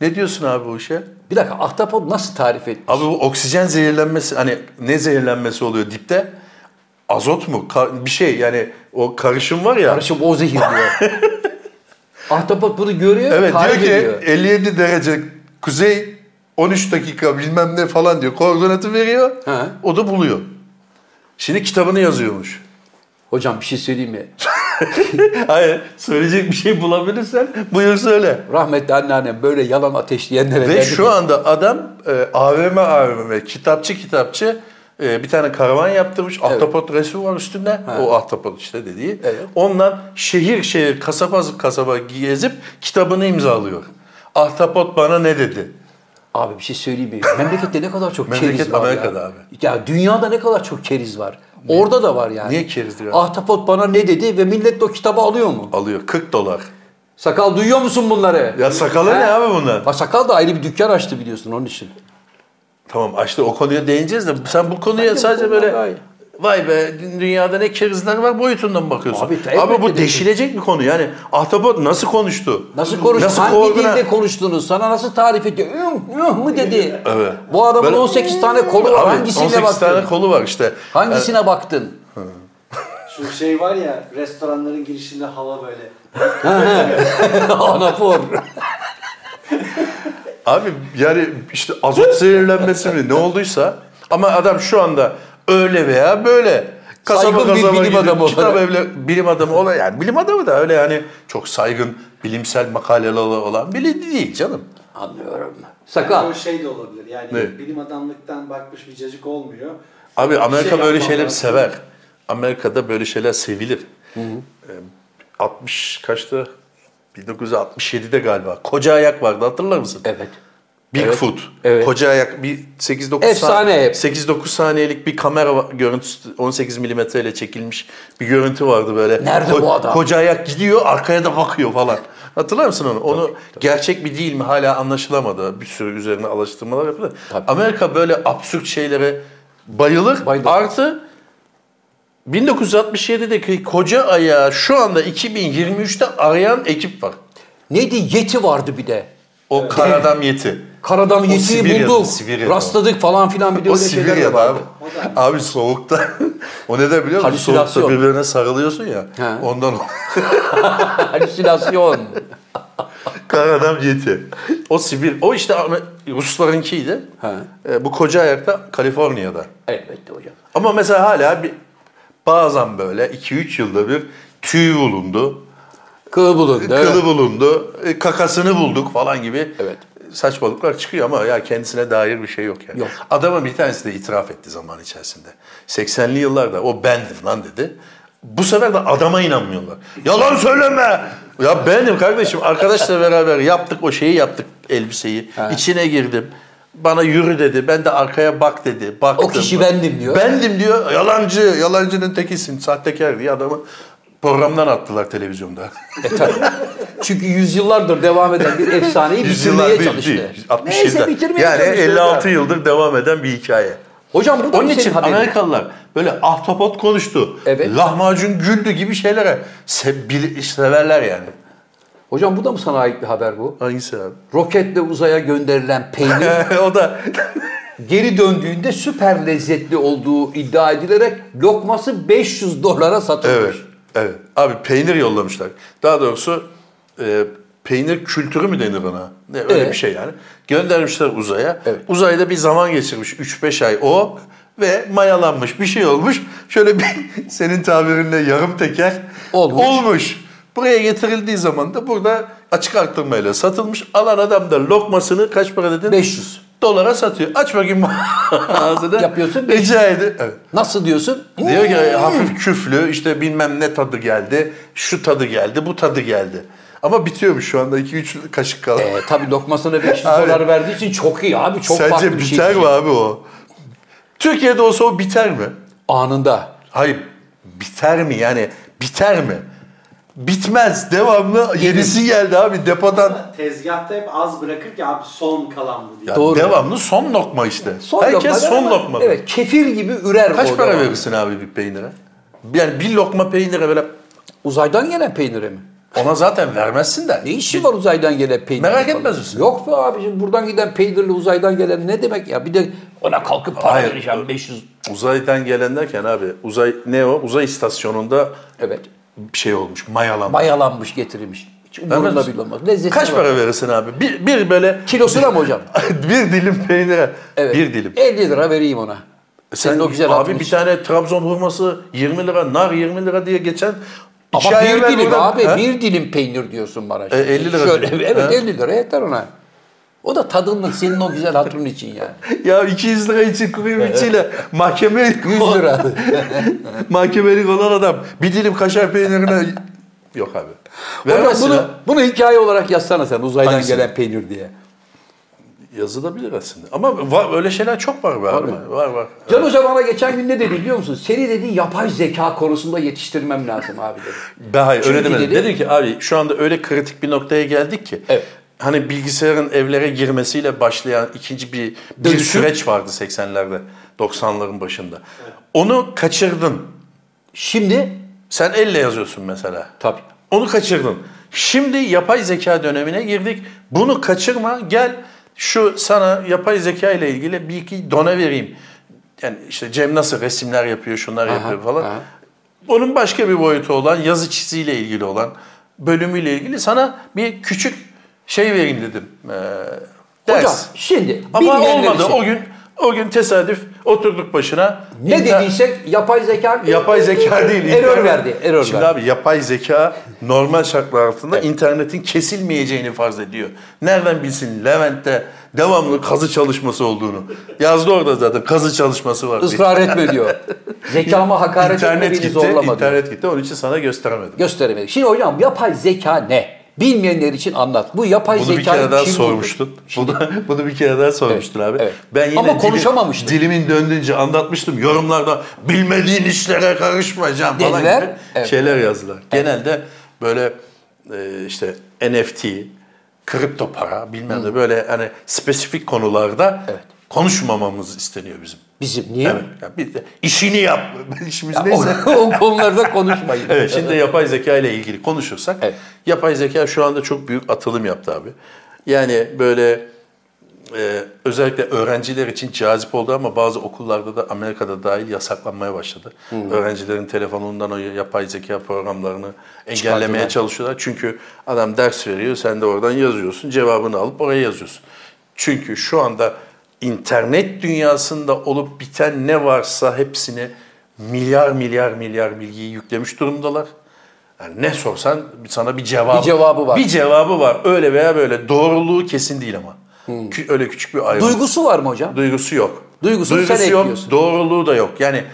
S2: Ne diyorsun abi bu işe?
S1: Bir dakika ahtapot nasıl tarif etmiş?
S2: Abi bu oksijen zehirlenmesi hani ne zehirlenmesi oluyor dipte? Azot mu? Ka- bir şey yani o karışım var ya.
S1: Karışım o zehir diyor. Ahtapot bunu görüyor,
S2: Evet
S1: tarif
S2: diyor ki e-
S1: ediyor.
S2: 57 derece kuzey 13 dakika bilmem ne falan diyor. Koordinatı veriyor.
S1: He.
S2: O da buluyor. Şimdi kitabını yazıyormuş.
S1: Hocam bir şey söyleyeyim mi?
S2: Hayır söyleyecek bir şey bulabilirsen buyur söyle.
S1: Rahmetli anneannem böyle yalan ateşleyenlere
S2: Ve
S1: derdi ki,
S2: şu anda adam e, AVM AVM kitapçı kitapçı e, bir tane karavan yaptırmış. Ahtapot resmi var üstünde. O ahtapot işte dediği.
S1: Evet.
S2: Ondan şehir şehir kasaba kasaba gezip kitabını imzalıyor. Ahtapot bana ne dedi?
S1: Abi bir şey söyleyeyim mi? Memlekette ne kadar çok
S2: Memleket
S1: keriz var
S2: Amerika'da
S1: ya.
S2: abi.
S1: Ya dünyada ne kadar çok keriz var. Orada da var yani.
S2: Niye keriz diyor?
S1: Ahtapot bana ne dedi ve millet de o kitabı alıyor mu?
S2: Alıyor 40 dolar.
S1: Sakal duyuyor musun bunları?
S2: Ya sakalı ne abi bunlar?
S1: Ha, sakal da ayrı bir dükkan açtı biliyorsun onun için.
S2: Tamam işte o konuya değineceğiz de sen bu konuya
S1: Bence
S2: sadece
S1: bu
S2: böyle
S1: konular gayet-
S2: vay be dünyada ne kerizler var boyutundan mı bakıyorsun.
S1: Abi,
S2: Abi,
S1: elbette
S2: bu
S1: değil.
S2: deşilecek bir konu yani ahtapot nasıl konuştu?
S1: Nasıl konuştun? Hangi
S2: koordine-
S1: dilde konuştunuz? Sana nasıl tarif ediyor? Üh, üh mı dedi?
S2: Evet.
S1: Bu adamın
S2: Böyle-
S1: 18 tane kolu var.
S2: Abi,
S1: Hangisine
S2: 18
S1: baktın?
S2: tane kolu var işte.
S1: Hangisine baktın?
S3: Şu şey var ya restoranların girişinde hava böyle.
S1: Anafor.
S2: Abi yani işte azot zehirlenmesi mi ne olduysa ama adam şu anda öyle veya böyle kasaba
S1: Saygın bir
S2: kasaba
S1: bilim
S2: gidip
S1: adamı
S2: kitap
S1: olarak.
S2: evle bilim adamı olan yani bilim adamı da öyle yani çok saygın bilimsel makaleleri olan biri değil canım.
S1: Anlıyorum.
S3: Yani
S1: Sakal.
S3: o şey de olabilir. Yani
S2: Ne?
S3: bilim adamlıktan bakmış bir cacık olmuyor.
S2: Abi Amerika
S3: şey
S2: böyle
S3: yapmam
S2: şeyleri
S3: lazım.
S2: sever. Amerika'da böyle şeyler sevilir. Ee, 60 kaçtı? 1967'de galiba. Koca ayak vardı hatırlar mısın?
S1: Evet.
S2: Bigfoot.
S1: evet.
S2: Koca ayak bir 8 9
S1: Efsane hep.
S2: 8 9 saniyelik bir kamera va- görüntüsü 18 milimetreyle çekilmiş bir görüntü vardı böyle.
S1: Nerede bu adam?
S2: Koca ayak gidiyor, arkaya da bakıyor falan. Hatırlar mısın onu? Onu gerçek mi değil mi hala anlaşılamadı. Bir sürü üzerine alıştırmalar yapıldı.
S1: Tabii.
S2: Amerika böyle absürt şeylere bayılır.
S1: Bayılır.
S2: Artı 1967'deki koca ayağı şu anda 2023'te arayan ekip var.
S1: Neydi? Yeti vardı bir de.
S2: O karadan yeti.
S1: Karadan yetiği
S2: Sibirya'da,
S1: bulduk.
S2: Sibirya'da o.
S1: Rastladık falan filan bir de
S2: O
S1: öyle şeyler
S2: Sibirya'da
S1: var.
S2: abi. Abi soğukta. o ne de biliyor musun?
S1: Halüsinasyon.
S2: Soğukta birbirine sarılıyorsun ya.
S1: He.
S2: Ondan o.
S1: Halüsinasyon.
S2: Kar adam yeti. O Sibir. O işte Ahmet- Ruslarınkiydi.
S1: He.
S2: E, bu koca ayakta Kaliforniya'da.
S1: Elbette hocam.
S2: Ama mesela hala bir, bazen böyle 2-3 yılda bir tüy bulundu.
S1: Kıl bulundu. evet.
S2: Kılı bulundu. e, Kakasını bulduk falan gibi.
S1: Evet.
S2: Saçmalıklar çıkıyor ama ya kendisine dair bir şey yok yani.
S1: Yok.
S2: Adama bir tanesi de itiraf etti zaman içerisinde. 80'li yıllarda o bendim lan dedi. Bu sefer de adama inanmıyorlar. Yalan söyleme. Ya benim kardeşim arkadaşla beraber yaptık o şeyi yaptık elbiseyi. İçine girdim. Bana yürü dedi. Ben de arkaya bak dedi. Baktım.
S1: O kişi bendim diyor.
S2: Bendim diyor. Yalancı. Yalancının tekisin. Sahtekar diye adamı programdan attılar televizyonda.
S1: E tabii. Çünkü yüzyıllardır devam eden bir efsaneyi bitirmeye
S2: Yüzyıllar değil,
S1: çalıştı.
S2: değil. 60
S1: Neyse
S2: yılda.
S1: bitirmeye
S2: Yani
S1: çalıştı.
S2: 56 yıldır devam eden bir hikaye.
S1: Hocam bu da
S2: Onun
S1: senin
S2: için
S1: haberin.
S2: Amerikalılar böyle ahtapot konuştu,
S1: Evet.
S2: lahmacun güldü gibi şeylere se- bil- severler yani.
S1: Hocam bu da mı sana ait bir haber bu?
S2: Hangisi abi?
S1: Roketle uzaya gönderilen peynir
S2: o da
S1: geri döndüğünde süper lezzetli olduğu iddia edilerek lokması 500 dolara satılmış.
S2: evet, evet. Abi peynir yollamışlar. Daha doğrusu e, peynir kültürü mü denir ona? Ne, öyle
S1: Evet.
S2: bir şey yani. Göndermişler uzaya.
S1: Evet.
S2: Uzayda bir zaman geçirmiş 3-5 ay o ve mayalanmış bir şey olmuş. Şöyle bir senin tabirinle yarım teker
S1: Olmuş.
S2: olmuş. Buraya getirildiği zaman da burada açık arttırmayla satılmış. Alan adam da lokmasını kaç para dedin?
S1: 500.
S2: Dolara satıyor. Aç bakayım ağzını.
S1: Yapıyorsun.
S2: Rica edi- Evet.
S1: Nasıl diyorsun? Hmm.
S2: Diyor ki hafif küflü işte bilmem ne tadı geldi, şu tadı geldi, bu tadı geldi. Ama bitiyormuş şu anda 2-3 kaşık kaldı.
S1: E, tabii lokmasına 500
S2: Abi.
S1: dolar verdiği için çok iyi abi. Çok farklı
S2: Sence
S1: bir
S2: biter
S1: şey.
S2: mi abi o? Türkiye'de olsa o biter mi?
S1: Anında.
S2: Hayır biter mi yani biter mi? Bitmez devamlı yenisi geldi abi depodan.
S3: Tezgahta hep az bırakır ki abi son kalan bu diye.
S2: Ya
S1: Doğru.
S2: Devamlı son lokma işte.
S1: Son
S2: Herkes
S1: lokma
S2: son
S1: ama-
S2: lokma.
S1: Evet kefir gibi ürer
S2: Kaç
S1: o
S2: para
S1: devam.
S2: verirsin abi bir peynire? Yani bir lokma peynire böyle
S1: Uzaydan gelen peynire mi?
S2: ona zaten vermezsin de.
S1: Ne işi var uzaydan gelen peynir?
S2: Merak etmez misin?
S1: Yok be abicim buradan giden peynirle uzaydan gelen ne demek ya? Bir de ona kalkıp para
S2: Hayır.
S1: vereceğim 500.
S2: Uzaydan gelen derken abi uzay ne o? Uzay istasyonunda
S1: Evet.
S2: bir şey olmuş mayalanma.
S1: Mayalanmış getirilmiş. Hiç
S2: Vermez
S1: umurunda
S2: misin?
S1: bile olmaz. Lezzetine
S2: Kaç
S1: bak.
S2: para verirsin abi? Bir, bir böyle
S1: Kilosuna mı hocam?
S2: bir dilim peynire.
S1: Evet.
S2: Bir dilim. E
S1: 50 lira vereyim ona. Senin o güzel
S2: abi
S1: hatun
S2: bir
S1: için.
S2: tane Trabzon hurması 20 lira, nar 20 lira diye geçen iki
S1: Ama
S2: ay
S1: bir
S2: evvel
S1: dilim
S2: buradan-
S1: abi
S2: Ha?
S1: bir dilim peynir diyorsun bana.
S2: E, 50 lira
S1: Şöyle,
S2: diyorum.
S1: evet
S2: Ha?
S1: 50 lira yeter ona. O da tadınlık senin o güzel hatun için yani.
S2: Ya 200 lira için kuru içiyle mahkeme
S1: 100 lira.
S2: mahkemelik olan adam bir dilim kaşar peynirine yok abi.
S1: Hocam
S2: Vermezsin
S1: bunu,
S2: ha.
S1: bunu hikaye olarak yazsana sen uzaydan
S2: Hangisini?
S1: gelen peynir diye.
S2: Yazılabilir aslında. Ama var, öyle şeyler çok var be var abi.
S1: mı?
S2: Var var.
S1: Can Hoca bana geçen gün ne dedi biliyor musun? Seni dedi yapay zeka konusunda yetiştirmem lazım abi dedi.
S2: Ben hayır öyle
S1: Çünkü
S2: demedim.
S1: dedi-
S2: Dedi, ki abi şu anda öyle kritik bir noktaya geldik ki.
S1: Evet.
S2: Hani bilgisayarın evlere girmesiyle başlayan ikinci bir, bir
S1: Dönüşüm.
S2: süreç vardı 80'lerde, 90'ların başında. Onu kaçırdın.
S1: Şimdi
S2: Sen elle yazıyorsun mesela.
S1: tabii
S2: Onu kaçırdın. Şimdi yapay zeka dönemine girdik. Bunu kaçırma. Gel şu sana yapay zeka ile ilgili bir iki dona vereyim. Yani işte Cem nasıl resimler yapıyor, şunlar yapıyor falan.
S1: aha.
S2: Onun başka bir boyutu olan yazı çiziyle ilgili olan bölümüyle ilgili sana bir küçük şey vereyim dedim. Ee, ders.
S1: Hocam şimdi
S2: Ama
S1: bilmeyenler
S2: olmadı.
S1: için
S2: O gün o gün tesadüf oturduk başına.
S1: ne
S2: İnter-
S1: dediysek yapay zeka
S2: Yapay zeka değil.
S1: Error
S2: internet.
S1: verdi. Error
S2: Şimdi
S1: verdi.
S2: abi yapay zeka normal şartlar altında internetin kesilmeyeceğini farz ediyor. Nereden bilsin Levent'te devamlı kazı çalışması olduğunu. Yazdı orada zaten kazı çalışması var. diye.
S1: Israr etme diyor. Zekama hakaret etme
S2: İnternet
S1: beni
S2: gitti,
S1: zorlama diyor.
S2: internet gitti. Onun için sana gösteremedim.
S1: Gösteremedik. Şimdi hocam yapay zeka ne? Bilmeyenler için anlat. Bu yapay
S2: Bunu
S1: zeka
S2: bir kere daha
S1: kim
S2: sormuştun. Bunu, bunu bir kere daha sormuştun abi.
S1: evet.
S2: Ben yine
S1: Ama
S2: dilim-
S1: konuşamamıştım.
S2: Dilimin döndüğünce anlatmıştım. Yorumlarda bilmediğin işlere karışmayacağım falan
S1: Dediler,
S2: gibi
S1: evet.
S2: şeyler yazdılar. Genelde böyle e, işte NFT, kripto para bilmem ne böyle hani spesifik konularda konuşmamamız isteniyor bizim.
S1: Bizim niye?
S2: Evet. Yani biz de işini yap. İşimiz
S1: O,
S2: neyse.
S1: o konularda konuşmayın.
S2: Evet şimdi yapay zeka ile ilgili konuşursak
S1: Evet.
S2: yapay zeka şu anda çok büyük atılım yaptı abi. Yani böyle e, özellikle öğrenciler için cazip oldu ama bazı okullarda da Amerika'da dahil yasaklanmaya başladı. Öğrencilerin telefonundan o yapay zeka programlarını engellemeye çalışıyorlar. Çünkü adam ders veriyor, sen de oradan yazıyorsun, cevabını alıp oraya yazıyorsun. Çünkü şu anda internet dünyasında olup biten ne varsa hepsini milyar milyar milyar bilgiyi yüklemiş durumdalar. Yani ne sorsan sana bir cevabı,
S1: Bir cevabı var.
S2: Bir cevabı var. Öyle veya böyle. Doğruluğu kesin değil ama. Kü- Öyle küçük bir ayrım.
S1: Duygusu var mı hocam?
S2: Duygusu yok.
S1: Duygusunu sen
S2: yok,
S1: ekliyorsun.
S2: doğruluğu da yok. Yani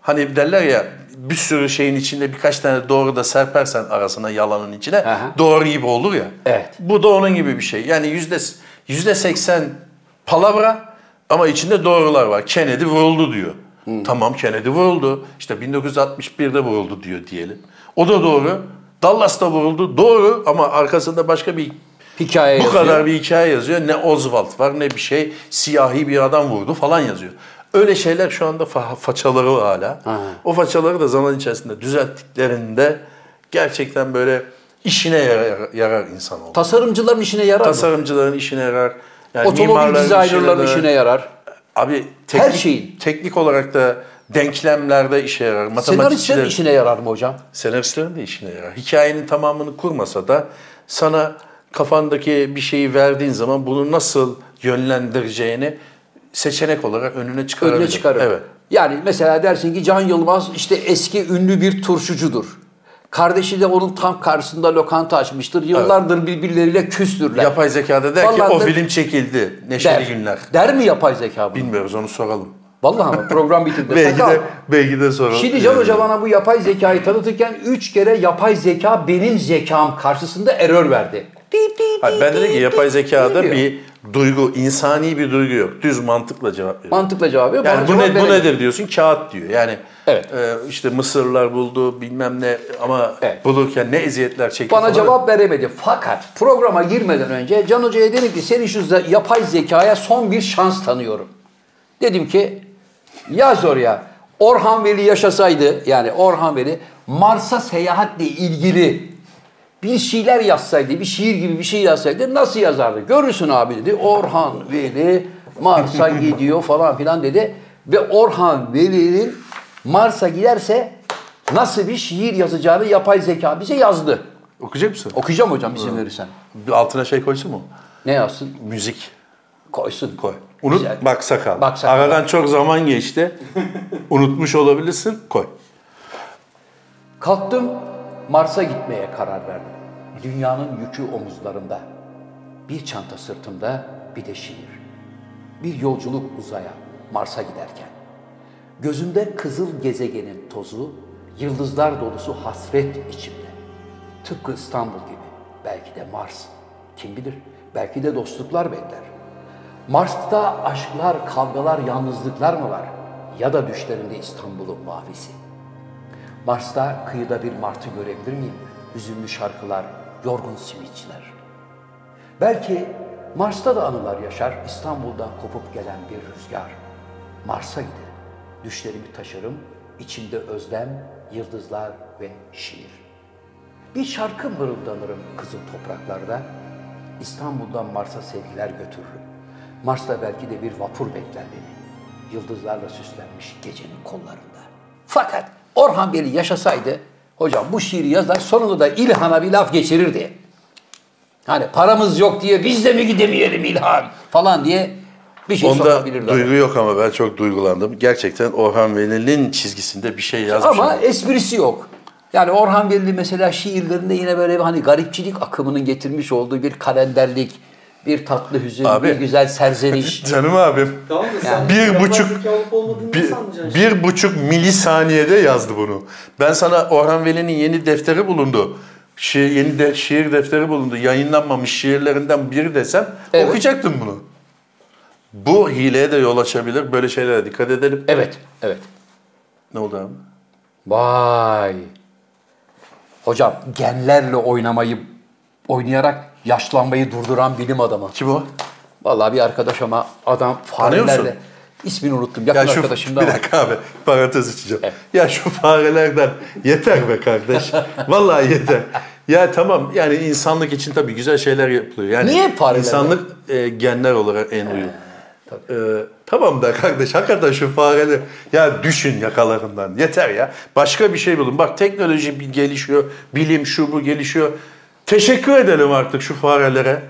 S2: hani derler ya bir sürü şeyin içinde birkaç tane doğru da serpersen arasına yalanın içine
S1: Aha.
S2: doğru gibi olur ya.
S1: Evet.
S2: Bu da onun gibi bir şey. Yani yüzde yüzde seksen palavra ama içinde doğrular var. Kennedy vuruldu diyor.
S1: Hmm.
S2: Tamam Kennedy vuruldu. İşte 1961'de vuruldu diyor diyelim. O da doğru. Dallas'ta vuruldu. Doğru ama arkasında başka bir
S1: Hikaye
S2: bu
S1: yazıyor.
S2: kadar bir hikaye yazıyor. Ne Oswald var ne bir şey. Siyahi bir adam vurdu falan yazıyor. Öyle şeyler şu anda fa- façaları hala. O façaları da zaman içerisinde düzelttiklerinde gerçekten böyle işine yarar, yarar insan oldu.
S1: Tasarımcıların işine yarar mı?
S2: Tasarımcıların işine yarar. Yani
S1: Otomobil
S2: mimarların
S1: dizaynerların işine yarar.
S2: Abi teknik,
S1: şeyin.
S2: teknik olarak da denklemlerde işe yarar.
S1: Senaristlerin
S2: Matematikçilerin
S1: işine yarar mı hocam?
S2: senaristlerin de işine yarar. Hikayenin tamamını kurmasa da sana kafandaki bir şeyi verdiğin zaman bunu nasıl yönlendireceğini seçenek olarak önüne çıkarabilir.
S1: Önüne çıkarır.
S2: Evet.
S1: Yani mesela dersin ki Can Yılmaz işte eski ünlü bir turşucudur. Kardeşi de onun tam karşısında lokanta açmıştır. Yıllardır birbirleriyle küstürler.
S2: Yapay zekada der ki
S1: Vallahi
S2: o
S1: de-
S2: film çekildi. Neşeli
S1: der.
S2: günler.
S1: Der mi yapay zeka bunu?
S2: Bilmiyoruz onu soralım.
S1: Vallahi ama program bitirdi.
S2: Belki
S1: Sakal.
S2: de, belki de soralım. Ee,
S1: Şimdi Can Hoca bana bu yapay zekayı tanıtırken 3 kere yapay zeka benim zekam karşısında error verdi. Di, di,
S2: Hayır,
S1: di,
S2: ben dedim
S1: di,
S2: ki
S1: di,
S2: yapay
S1: di
S2: zekada
S1: diyor.
S2: bir duygu, insani bir duygu yok. Düz mantıkla cevap veriyor.
S1: mantıkla cevap veriyor.
S2: Yani
S1: Bana
S2: bu,
S1: cevap
S2: ne, bu
S1: veremiyor.
S2: nedir diyorsun? Kağıt diyor. Yani
S1: Evet.
S2: e, işte Mısırlar buldu bilmem ne ama
S1: Evet.
S2: bulurken ne eziyetler çekti.
S1: Bana
S2: falan.
S1: cevap veremedi. Fakat programa girmeden önce Can Hoca'ya dedim ki senin şu ze- yapay zekaya son bir şans tanıyorum. Dedim ki yaz oraya Orhan Veli yaşasaydı yani Orhan Veli Mars'a seyahatle ilgili bir şeyler yazsaydı, bir şiir gibi bir şey yazsaydı nasıl yazardı? Görürsün abi dedi. Orhan Veli Mars'a gidiyor falan filan dedi. Ve Orhan Veli'nin Mars'a giderse nasıl bir şiir yazacağını yapay zeka bize yazdı.
S2: Okuyacak mısın?
S1: Okuyacağım hocam izin verirsen.
S2: Bir Altına şey koysun mu?
S1: Ne yazsın?
S2: Müzik
S1: Koysun.
S2: koy. Unut
S1: Güzel.
S2: bak sakal.
S1: Bak sakal.
S2: Aradan çok zaman geçti. Unutmuş olabilirsin. Koy.
S1: Kalktım Mars'a gitmeye karar verdim. Dünyanın yükü omuzlarımda. Bir çanta sırtımda bir de şiir. Bir yolculuk uzaya Mars'a giderken. Gözümde kızıl gezegenin tozu, yıldızlar dolusu hasret içimde. Tıpkı İstanbul gibi. Belki de Mars. Kim bilir? Belki de dostluklar bekler. Mars'ta aşklar, kavgalar, yalnızlıklar mı var? Ya da düşlerinde İstanbul'un mavisi. Mars'ta kıyıda bir martı görebilir miyim? Hüzünlü şarkılar, yorgun simitçiler. Belki Mars'ta da anılar yaşar, İstanbul'dan kopup gelen bir rüzgar. Mars'a giderim, düşlerimi taşırım, içimde özlem, yıldızlar ve şiir. Bir şarkı mırıldanırım kızıl topraklarda. İstanbul'dan Mars'a sevgiler götürürüm. Mars'ta belki de bir vapur bekler beni. Yıldızlarla süslenmiş gecenin kollarında. Fakat Orhan Veli yaşasaydı, hocam bu şiiri yazar sonunda da İlhan'a bir laf geçirirdi. Hani paramız yok diye biz de mi gidemeyelim İlhan falan diye bir şey
S2: Onda
S1: sokabilirdi.
S2: duygu yok ama ben çok duygulandım. Gerçekten Orhan Veli'nin çizgisinde bir şey yazmış.
S1: Ama esprisi yok. Yani Orhan Veli mesela şiirlerinde yine böyle bir hani garipçilik akımının getirmiş olduğu bir kalenderlik, bir tatlı hüzün,
S2: Abi.
S1: bir güzel serzeniş.
S2: Canım abim.
S3: Tamam da sen
S2: Bir
S3: yapay
S2: buçuk-
S3: zeka olup olmadığını
S2: Bir,
S3: nasıl anlayacaksın?
S2: bir buçuk milisaniyede yazdı bunu. Ben sana Orhan Veli'nin yeni defteri bulundu. Şiir, yeni de, şiir defteri bulundu. Yayınlanmamış şiirlerinden biri desem
S1: Evet.
S2: okuyacaktım bunu. Bu hileye de yol açabilir. Böyle şeylere dikkat edelim.
S1: evet, evet.
S2: Ne oldu abi?
S1: Vay. Hocam genlerle oynamayı oynayarak yaşlanmayı durduran bilim adamı.
S2: Kim o?
S1: Vallahi bir arkadaş ama adam
S2: Tanıyor musun?
S1: farelerle ismini unuttum. Yakın arkadaşım da
S2: bir
S1: ama.
S2: dakika abi parantez açacağım.
S1: Evet.
S2: Ya şu farelerden yeter be kardeş. Vallahi yeter. Ya tamam yani insanlık için tabii güzel şeyler yapılıyor. Yani
S1: Niye paralel?
S2: İnsanlık e, genler olarak en uyum. E, tamam da kardeş hakikaten şu fareleri ya düşün yakalarından yeter ya. Başka bir şey bulun. Bak teknoloji bir gelişiyor, bilim şu bu gelişiyor. Teşekkür edelim artık şu farelere.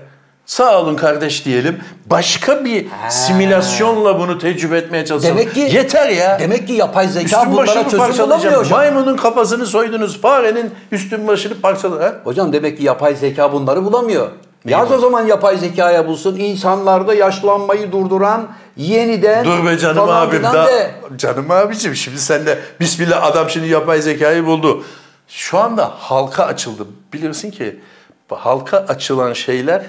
S2: Sağ olun kardeş diyelim. Başka bir simülasyonla bunu tecrübe etmeye çalışalım.
S1: Demek ki-
S2: yeter ya.
S1: Demek ki yapay zeka
S2: Üstün
S1: bunlara
S2: başını
S1: çözüm bulamıyor
S2: parçalayacak.
S1: hocam.
S2: Maymunun kafasını soydunuz. Farenin üstün başını parçaladı.
S1: Hocam demek ki yapay zeka bunları bulamıyor. Yaz o zaman yapay zekaya bulsun. İnsanlarda yaşlanmayı durduran yeniden
S2: Dur be canım
S1: falan
S2: abim
S1: filan
S2: da.
S1: de.
S2: Canım abicim şimdi sen de bismillah adam şimdi yapay zekayı buldu. Şu anda halka açıldı. Bilirsin ki halka açılan şeyler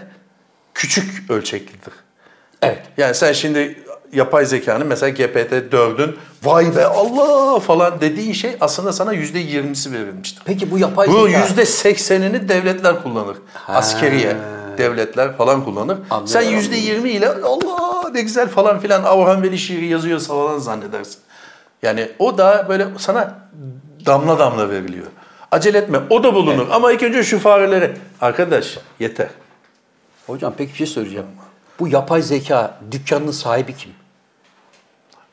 S2: küçük ölçeklidir.
S1: Evet.
S2: Yani sen şimdi yapay zekanın mesela GPT-4'ün vay be Allah falan dediğin şey aslında sana %20'si verilmiştir.
S1: Peki bu yapay
S2: Bu
S1: zeka.
S2: yüzde seksenini devletler kullanır. Askeriye devletler falan kullanır. Sen yüzde yirmi ile Allah ne güzel falan filan Avram Veli şiiri yazıyorsa falan zannedersin. Yani o da böyle sana damla damla veriliyor. Acele etme o da bulunur ama ilk önce şu farelere. Arkadaş yeter.
S1: Hocam peki bir şey söyleyeceğim. Bu yapay zeka dükkanının sahibi kim?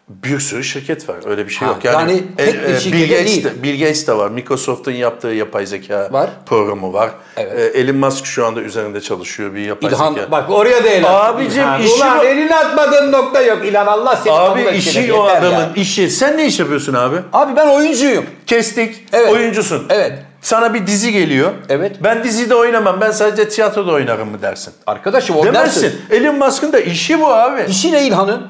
S2: Bir sürü şirket var. Öyle bir şey
S1: Ha,
S2: yok. Yani, e,
S1: yani tek bir şirket
S2: Bill, Gates
S1: değil.
S2: de, Bill Gates de var. Microsoft'un yaptığı yapay zeka
S1: Var.
S2: programı var.
S1: Evet.
S2: E, Elon Musk şu anda üzerinde çalışıyor bir yapay
S1: İlhan
S2: zeka.
S1: bak oraya da el at.
S2: Abicim, işi
S1: Ulan
S2: bu-
S1: elini atmadığın nokta yok. İlhan Allah seni
S2: Abi
S1: kabul etsin.
S2: işi
S1: Yeter
S2: o
S1: ya.
S2: adamın işi. Sen ne iş yapıyorsun abi?
S1: Abi ben oyuncuyum.
S2: Kestik.
S1: Evet.
S2: Oyuncusun.
S1: Evet.
S2: Sana bir dizi geliyor.
S1: Evet.
S2: Ben dizide oynamam. Ben sadece tiyatroda oynarım mı dersin?
S1: Arkadaşım oynarsın.
S2: Demezsin. Elon Musk'ın da işi bu abi.
S1: İşi ne İlhan'ın?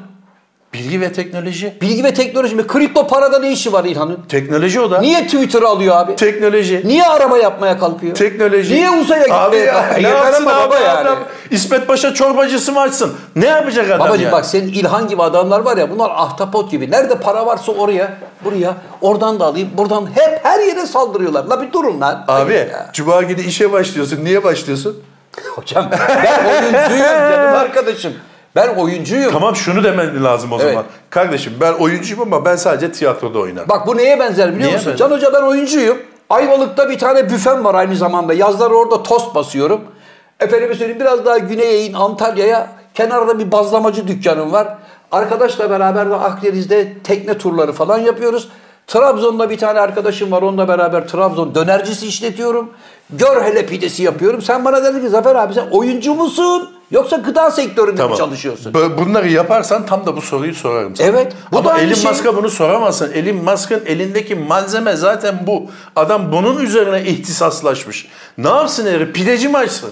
S2: Bilgi ve teknoloji.
S1: Bilgi ve teknoloji mi? Kripto parada ne işi var İlhan'ın?
S2: Teknoloji o da.
S1: Niye Twitter'ı alıyor abi?
S2: Teknoloji.
S1: Niye araba yapmaya kalkıyor?
S2: Teknoloji.
S1: Niye uzaya gitmeye
S2: Abi ya,
S1: kalkıyor?
S2: ne
S1: Yeter
S2: yapsın
S1: ama
S2: abi
S1: baba yani.
S2: adam? İsmet Paşa çorbacısı mı açsın? Ne yapacak adam
S1: Babacım
S2: yani?
S1: bak senin İlhan gibi adamlar var ya bunlar ahtapot gibi. Nerede para varsa oraya, buraya, oradan da alayım, buradan hep her yere saldırıyorlar. La bir durun lan.
S2: Abi
S1: Hayır ya.
S2: cuma günü işe başlıyorsun. Niye başlıyorsun?
S1: Hocam ben oyuncuyum canım arkadaşım. Ben oyuncuyum.
S2: Tamam şunu demen lazım o
S1: Evet.
S2: zaman. Kardeşim ben oyuncuyum ama ben sadece tiyatroda oynarım.
S1: Bak bu neye benzer biliyor
S2: Neye
S1: musun?
S2: benzer?
S1: Can Hoca ben oyuncuyum. Ayvalık'ta bir tane büfem var aynı zamanda. Yazları orada tost basıyorum. Efendime söyleyeyim biraz daha güneye in Antalya'ya. Kenarda bir bazlamacı dükkanım var. Arkadaşla beraber de Akdeniz'de tekne turları falan yapıyoruz. Trabzon'da bir tane arkadaşım var. Onunla beraber Trabzon dönercisi işletiyorum. Gör hele pidesi yapıyorum. Sen bana dedin ki Zafer abi sen oyuncu musun? Yoksa gıda sektöründe mi çalışıyorsun?
S2: Bö- Bunları yaparsan tam da bu soruyu sorarım sana.
S1: Evet, bu
S2: Ama
S1: da aynı
S2: Elon
S1: şey.
S2: Musk'a bunu soramazsın. Elon Musk'ın elindeki malzeme zaten bu. Adam bunun üzerine ihtisaslaşmış. Ne yapsın herif? Pideci mi açsın?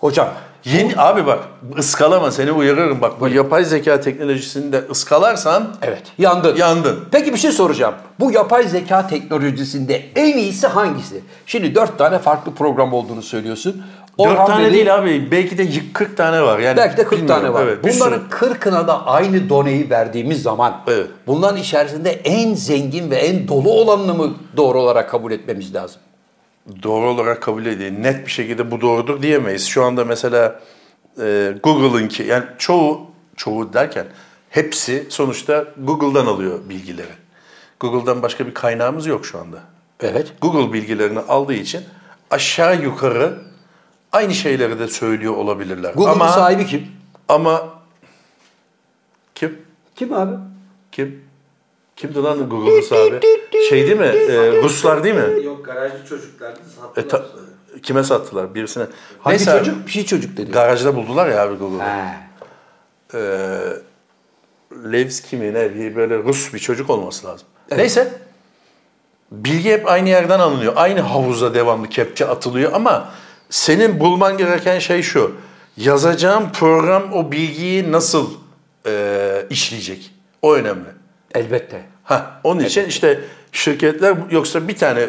S1: Hocam
S2: Yeni, abi bak ıskalama seni uyarırım bak bu yapay zeka teknolojisini de ıskalarsan
S1: evet yandın.
S2: yandın.
S1: Peki bir şey soracağım. Bu yapay zeka teknolojisinde en iyisi hangisi? Şimdi dört tane farklı program olduğunu söylüyorsun.
S2: Dört
S1: Orhan
S2: tane
S1: Veli-
S2: değil abi belki de yık- 40 tane var. Yani
S1: Belki de 40
S2: bilmiyorum.
S1: tane var.
S2: Evet, bir
S1: Bunların
S2: sürü.
S1: 40'ına da aynı doneyi verdiğimiz zaman
S2: Evet.
S1: bunların içerisinde en zengin ve en dolu olanını mı doğru olarak kabul etmemiz lazım?
S2: doğru olarak kabul ediyor. Net bir şekilde bu doğrudur diyemeyiz. Şu anda mesela e, Google'ınki yani çoğu çoğu derken hepsi sonuçta Google'dan alıyor bilgileri. Google'dan başka bir kaynağımız yok şu anda.
S1: Evet.
S2: Google bilgilerini aldığı için aşağı yukarı aynı şeyleri de söylüyor olabilirler.
S1: Google'un
S2: ama
S1: sahibi kim?
S2: ama kim?
S1: Kim abi?
S2: Kim? Kimdi lan Google'ın sahibi? Şey değil mi? E, Ruslar değil mi?
S3: Yok garajlı çocuklardı sattılar.
S2: E, ta- kime sattılar? Birisine.
S1: Hangi
S2: Neyse abi,
S1: çocuk? Bir şey çocuk dedi.
S2: Garajda buldular ya abi Google'ı. Ee,
S1: He.
S2: Levski mi ne bir böyle Rus bir çocuk olması lazım. Neyse bilgi hep aynı yerden alınıyor. Aynı havuza devamlı kepçe atılıyor ama senin bulman gereken şey şu. Yazacağım program o bilgiyi nasıl e, işleyecek? O önemli.
S1: Elbette.
S2: Ha, onun için işte şirketler yoksa bir tane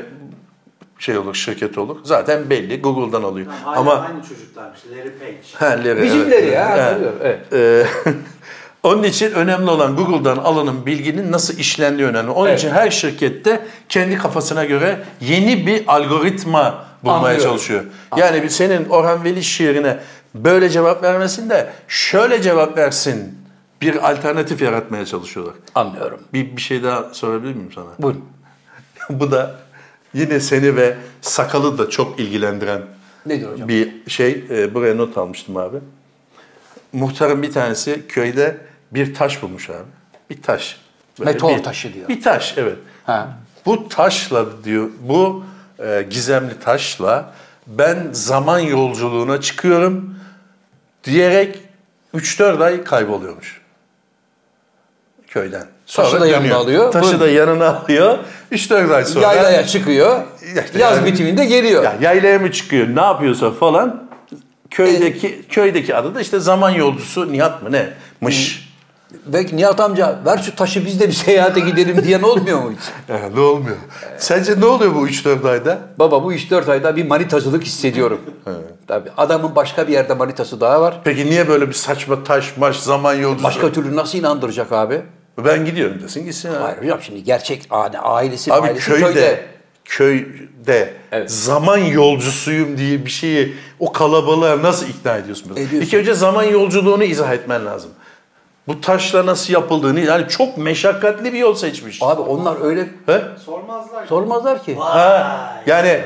S2: şey olur şirket olur. Zaten belli Google'dan alıyor.
S3: Hala
S2: ama
S3: aynı çocuklarmış. Larry Page.
S2: Ha, Larry,
S1: Bizimleri
S2: evet.
S1: ya.
S2: Evet.
S1: hatırlıyorum, Evet.
S2: Ee, Onun için önemli olan Google'dan alınan bilginin nasıl işlendiği önemli. Onun
S1: Evet.
S2: için her şirkette kendi kafasına göre yeni bir algoritma bulmaya
S1: Anlıyorum.
S2: çalışıyor. Yani bir senin Orhan Veli şiirine böyle cevap vermesin de şöyle cevap versin bir alternatif yaratmaya çalışıyorlar.
S1: Anlıyorum.
S2: Bir, bir şey daha sorabilir miyim sana?
S1: Buyurun.
S2: Bu da Yine seni ve sakalı da çok ilgilendiren
S1: Nedir hocam?
S2: bir şey e, buraya not almıştım abi. Muhtarın bir tanesi köyde bir taş bulmuş abi. Bir taş.
S1: Meteor
S2: bir-
S1: taşı diyor.
S2: Bir taş evet.
S1: Ha.
S2: Bu taşla diyor bu e, gizemli taşla ben zaman yolculuğuna çıkıyorum diyerek 3-4 ay kayboluyormuş. Köyden. Sonra
S1: Taşı da yanına
S2: dönüyor.
S1: alıyor.
S2: Taşı
S1: Bu-
S2: da yanına alıyor. 3-4 ay sonra.
S1: Yaylaya çıkıyor.
S2: İşte
S1: yaz
S2: yani-
S1: bitiminde geliyor.
S2: Ya yaylaya mı çıkıyor? Ne yapıyorsa falan köydeki köydeki adı da işte zaman yolcusu Nihat mı ne? Mış.
S1: Belki Nihat amca ver şu taşı biz de bir seyahate gidelim diyen olmuyor mu hiç?
S2: ne olmuyor? Sence ne oluyor bu 3-4 ayda?
S1: Baba bu 3-4 ayda bir manitacılık hissediyorum. Tabii adamın başka bir yerde manitası daha var.
S2: Peki niye böyle bir saçma taş maş zaman yolcusu?
S1: Başka türlü nasıl inandıracak abi?
S2: Ben gidiyorum desin gitsin abi.
S1: Hayır hocam şimdi gerçek aile, ailesi,
S2: Abi
S1: ailesi
S2: köyde,
S1: köyde.
S2: köyde
S1: Evet.
S2: zaman yolcusuyum diye bir şeyi o kalabalığa nasıl ikna ediyorsun?
S1: Ediyorsun.
S2: İlk önce zaman yolculuğunu izah etmen lazım. Bu taşla nasıl yapıldığını yani çok meşakkatli bir yol seçmiş.
S1: Abi onlar öyle
S2: He?
S3: Sormazlar.
S1: sormazlar ki.
S2: Ha, yani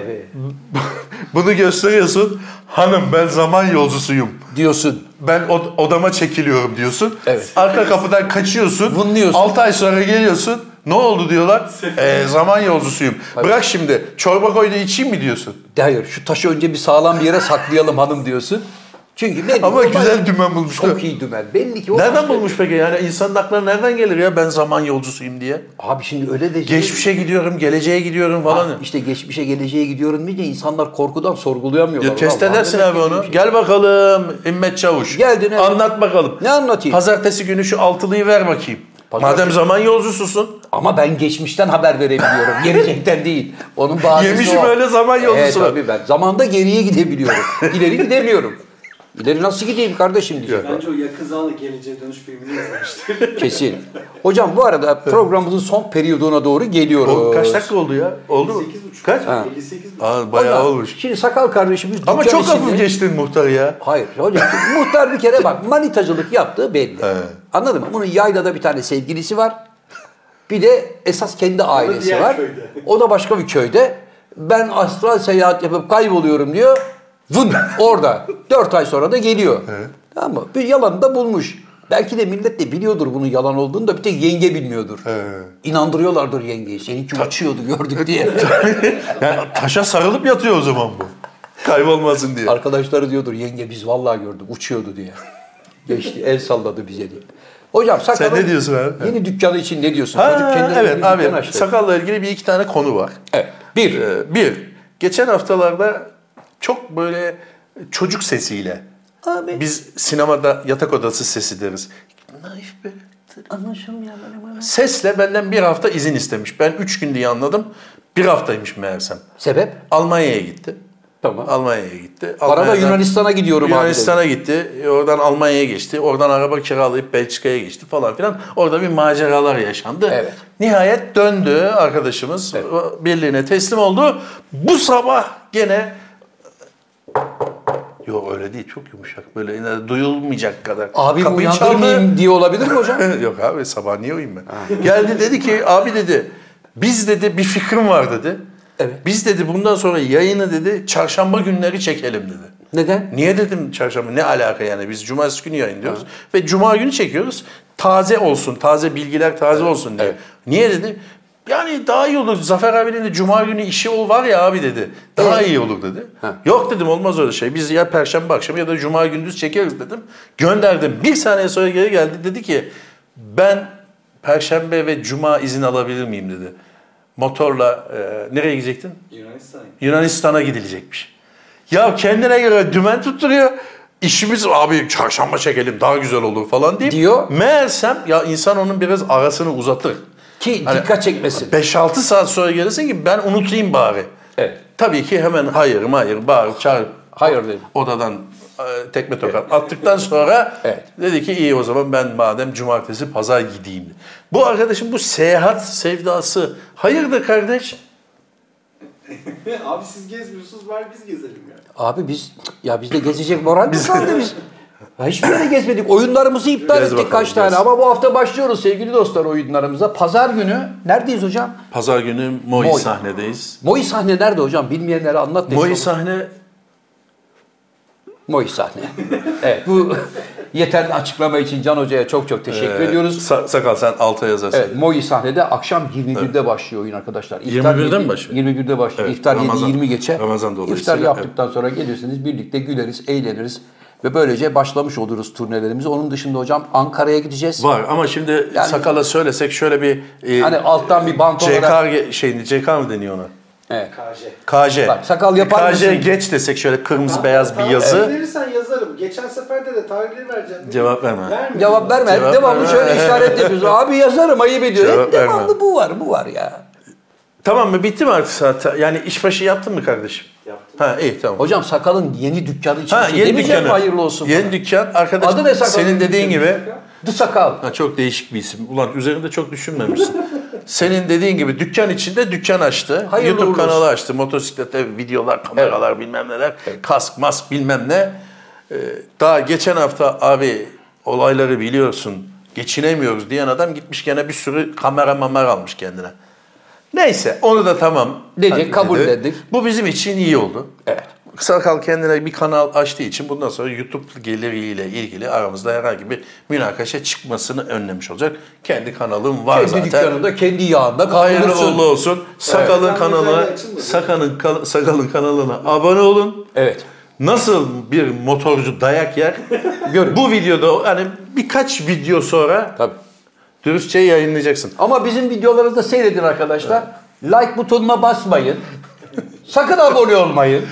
S2: bunu gösteriyorsun. Hanım ben zaman yolcusuyum.
S1: Diyorsun.
S2: Ben od- odama çekiliyorum diyorsun.
S1: Evet.
S2: Arka kapıdan kaçıyorsun.
S1: Vınlıyorsun.
S2: 6 ay sonra geliyorsun. Ne oldu diyorlar. "Ee, zaman yolcusuyum. Bırak şimdi çorba koy da içeyim mi diyorsun.
S1: De hayır şu taşı önce bir sağlam bir yere saklayalım hanım diyorsun. Çünkü belli
S2: Ama
S1: ki o
S2: güzel
S1: taş-
S2: dümen bulmuş.
S1: Çok iyi dümen. Belli ki o
S2: Nereden
S1: taş-
S2: bulmuş peki? Yani insanın aklına nereden gelir ya ben zaman yolcusuyum diye.
S1: Abi şimdi öyle de...
S2: Geçmişe gidiyorum, geleceğe gidiyorum falan.
S1: Ha, Ah, işte geçmişe geleceğe gidiyorum deyince insanlar korkudan sorgulayamıyorlar.
S2: Ya test
S1: Ulan var
S2: edersin
S1: demek
S2: abi
S1: ki
S2: onu.
S1: bir şey.
S2: Gel bakalım İmmet Çavuş.
S1: Geldin evet.
S2: Anlat bakalım.
S1: Ne anlatayım?
S2: Pazartesi günü şu altılıyı ver bakayım.
S1: Pazartesi-
S2: Madem zaman yolcususun.
S1: Ama ben geçmişten haber verebiliyorum. Gelecekten değil. Onun bahanesi
S2: Yemişim
S1: o.
S2: öyle zaman yolcusu.
S1: Evet tabii ben. Zamanda geriye gidebiliyorum. İleri gidemiyorum. İleri nasıl gideyim kardeşim diyecek.
S3: Bence o yakın zamanda geleceğe dönüş filmini izlemiştir.
S1: Kesin. Hocam bu arada programımızın son periyoduna doğru geliyoruz.
S2: O kaç dakika oldu ya? Oldu mu?
S3: 58,5.
S2: Kaç?
S3: Ha. 58,5.
S2: Aa,
S1: Hocam,
S2: bayağı olmuş.
S1: Şimdi sakal kardeşimiz
S2: Ama
S1: dükkan
S2: çok hafif
S1: içinde-
S2: geçtin muhtar ya.
S1: Hayır hocam şimdi muhtar bir kere bak manitacılık yaptığı belli. Anladın mı? Bunun yaylada bir tane sevgilisi var. Bir de esas kendi ailesi
S3: diğer
S1: var.
S3: köyde.
S1: O da başka bir köyde. Ben astral seyahat yapıp kayboluyorum diyor. Vın orada. Dört ay sonra da geliyor. Tamam mı? Bir yalan da bulmuş. Belki de millet de biliyordur bunun yalan olduğunu da bir tek yenge bilmiyordur. İnandırıyorlardır yengeyi. Seninki uçuyordu gördük diye.
S2: Yani taşa sarılıp yatıyor o zaman bu. Kaybolmasın diye.
S1: Arkadaşları diyordur yenge biz vallahi gördük uçuyordu diye. Geçti el salladı bize diye. Hocam sakalın
S2: Sen ne diyorsun abi?
S1: Yeni dükkanı için ne diyorsun? Çocuk
S2: Ha,
S1: kendine yeni
S2: evet
S1: dükkan
S2: abi
S1: açtı.
S2: sakalla ilgili bir iki tane konu var.
S1: Evet. Bir.
S2: Ee, bir, geçen haftalarda çok böyle çocuk sesiyle
S1: Abi.
S2: Biz sinemada yatak odası sesi deriz. Naif böyle. Sesle benden bir hafta izin istemiş. Ben üç gün diye anladım. Bir haftaymış meğersem.
S1: Sebep?
S2: Almanya'ya gitti.
S1: Tamam.
S2: Almanya'ya gitti.
S1: Arada
S2: Almanya'dan-
S1: Yunanistan'a gidiyorum abi.
S2: Yunanistan'a gitti. Oradan Almanya'ya geçti. Oradan araba kiralayıp Belçika'ya geçti falan filan. Orada bir maceralar yaşandı.
S1: Evet.
S2: Nihayet döndü arkadaşımız. Birliğine teslim oldu. Bu sabah gene Yok öyle değil çok yumuşak böyle yine duyulmayacak kadar.
S1: Abi
S2: Kapıyı çaldı.
S1: uyandırmayayım diye olabilir mi hocam?
S2: Yok abi sabah niye uyuyayım ben? Geldi dedi ki abi dedi biz dedi bir fikrim var dedi.
S1: Evet.
S2: Biz dedi bundan sonra yayını dedi çarşamba günleri çekelim dedi.
S1: Neden?
S2: Niye dedim çarşamba ne alaka yani biz cumartesi günü yayınlıyoruz ve cuma günü çekiyoruz. Taze olsun, taze bilgiler taze olsun diye.
S1: evet.
S2: Niye dedi? Yani daha iyi olur. Zafer abinin de cuma günü işi o var ya abi dedi. Daha iyi olur dedi. Yok dedim olmaz öyle şey. Biz ya perşembe akşamı ya da cuma gündüz çekeriz dedim. Gönderdim. Bir saniye sonra geri geldi. Dedi ki ben perşembe ve cuma izin alabilir miyim dedi. Motorla e, nereye gidecektin?
S3: Yunanistan'a gitti.
S2: Yunanistan'a gidilecekmiş. Ya kendine göre dümen tutturuyor. İşimiz abi çarşamba çekelim daha güzel olur falan deyip.
S1: Diyor.
S2: Meğersem ya insan onun biraz arasını uzatır.
S1: Ki
S2: Hani-
S1: dikkat çekmesin.
S2: 5-6 saat sonra gelirsin ki ben unutayım bari.
S1: Evet.
S2: Tabii ki hemen hayır hayır bağırıp çağırıp
S1: Hayır dedim.
S2: odadan e, tekme tokat attıktan sonra
S1: Evet.
S2: dedi ki iyi o zaman ben madem cumartesi pazar gideyim. Bu arkadaşım bu seyahat sevdası hayırdır kardeş?
S3: Abi siz gezmiyorsunuz bari biz gezelim ya.
S1: Abi biz ya bizde gezecek moral mi kaldı biz? Ya Hiçbir yere gezmedik. Oyunlarımızı iptal
S2: Gez
S1: ettik
S2: bakalım,
S1: kaç tane
S2: gez.
S1: ama bu hafta başlıyoruz sevgili dostlar oyunlarımıza. Pazar günü neredeyiz hocam?
S2: Pazar günü Moi,
S1: Moi.
S2: sahnedeyiz.
S1: Moi sahne nerede hocam? Bilmeyenlere anlat. da
S2: Moi
S1: işte.
S2: sahne
S1: Moi sahne. evet bu yeterli açıklama için Can Hoca'ya çok çok teşekkür
S2: e,
S1: ediyoruz.
S2: Sa- sakal sen alta yazarsın.
S1: Evet, Moi sahnede akşam 21'de başlıyor oyun arkadaşlar.
S2: 21'de
S1: yedi-
S2: mi başlıyor?
S1: 21'de başlıyor.
S2: Evet,
S1: İftar
S2: Ramazan-
S1: 7-20 geçe.
S2: Ramazan dolayısıyla,
S1: İftar yaptıktan sonra gelirsiniz birlikte güleriz, eğleniriz ve böylece başlamış oluruz turnelerimizi. Onun dışında hocam Ankara'ya gideceğiz.
S2: Var ama şimdi
S1: Yani-
S2: sakala söylesek şöyle bir e,
S1: Hani alttan bir bant
S2: CK
S1: olarak.
S2: ge- şeyini CK mı deniyor ona?
S1: Evet.
S3: KJ.
S2: KJ.
S1: Bak, sakal yapar
S2: KJ
S1: mısın?
S2: geç desek şöyle kırmızı
S3: Tamam,
S2: beyaz bir
S3: tamam,
S2: yazı.
S3: Verirsen yazarım. Geçen seferde de tarihleri vereceğim.
S2: Cevap verme.
S3: Vermedin.
S1: Cevap verme.
S2: Cevap
S1: devamlı
S2: verme.
S1: şöyle işaret yapıyoruz. Abi yazarım ayıp ediyor.
S2: Cevap
S1: devamlı
S2: verme.
S1: bu var bu var ya.
S2: Tamam mı? Bitti mi artık zaten? Yani işbaşı yaptın mı kardeşim?
S3: Yaptım.
S2: Ha iyi tamam.
S1: Hocam sakalın yeni dükkanı için
S2: Ha
S1: bir şey
S2: yeni
S1: demeyecek mi
S2: dükkanı.
S1: hayırlı olsun?
S2: Yeni dükkan arkadaş.
S1: Adı ne sakal?
S2: Senin dediğin gibi.
S1: The Sakal.
S2: Ha, çok değişik bir isim. Ulan üzerinde çok düşünmemişsin. Senin dediğin gibi dükkan içinde dükkan açtı.
S1: Hayırlı
S2: YouTube
S1: uğurlu olsun.
S2: kanalı açtı. Motosiklete videolar, kameralar bilmem neler. Kask, mask bilmem ne. Ee, daha geçen hafta abi olayları biliyorsun. Geçinemiyoruz diyen adam gitmiş gene bir sürü kamera mamera almış kendine. Neyse onu da tamam.
S1: Dedik,
S2: Hadi
S1: kabul ettik.
S2: Bu bizim için iyi oldu. Evet. Sakal kendine bir kanal açtığı için bundan sonra YouTube geliriyle ilgili aramızda herhangi bir münakaşa çıkmasını önlemiş olacak. Kendi kanalım var
S1: Kendi
S2: zaten.
S1: dükkanında kendi yağında
S2: Hayırlı
S1: kavrulursun.
S2: uğurlu olsun. Sakalın
S3: Evet.
S2: kanalına,
S3: Sen de açılmadın.
S2: sakalın, kan- sakalın kanalına abone olun.
S1: Evet.
S2: Nasıl bir motorcu dayak yer?
S1: Görün.
S2: Bu videoda hani birkaç video sonra
S1: Tabii.
S2: dürüstçe yayınlayacaksın.
S1: Ama bizim videolarımızı da seyredin arkadaşlar. Like butonuna basmayın. Sakın abone olmayın.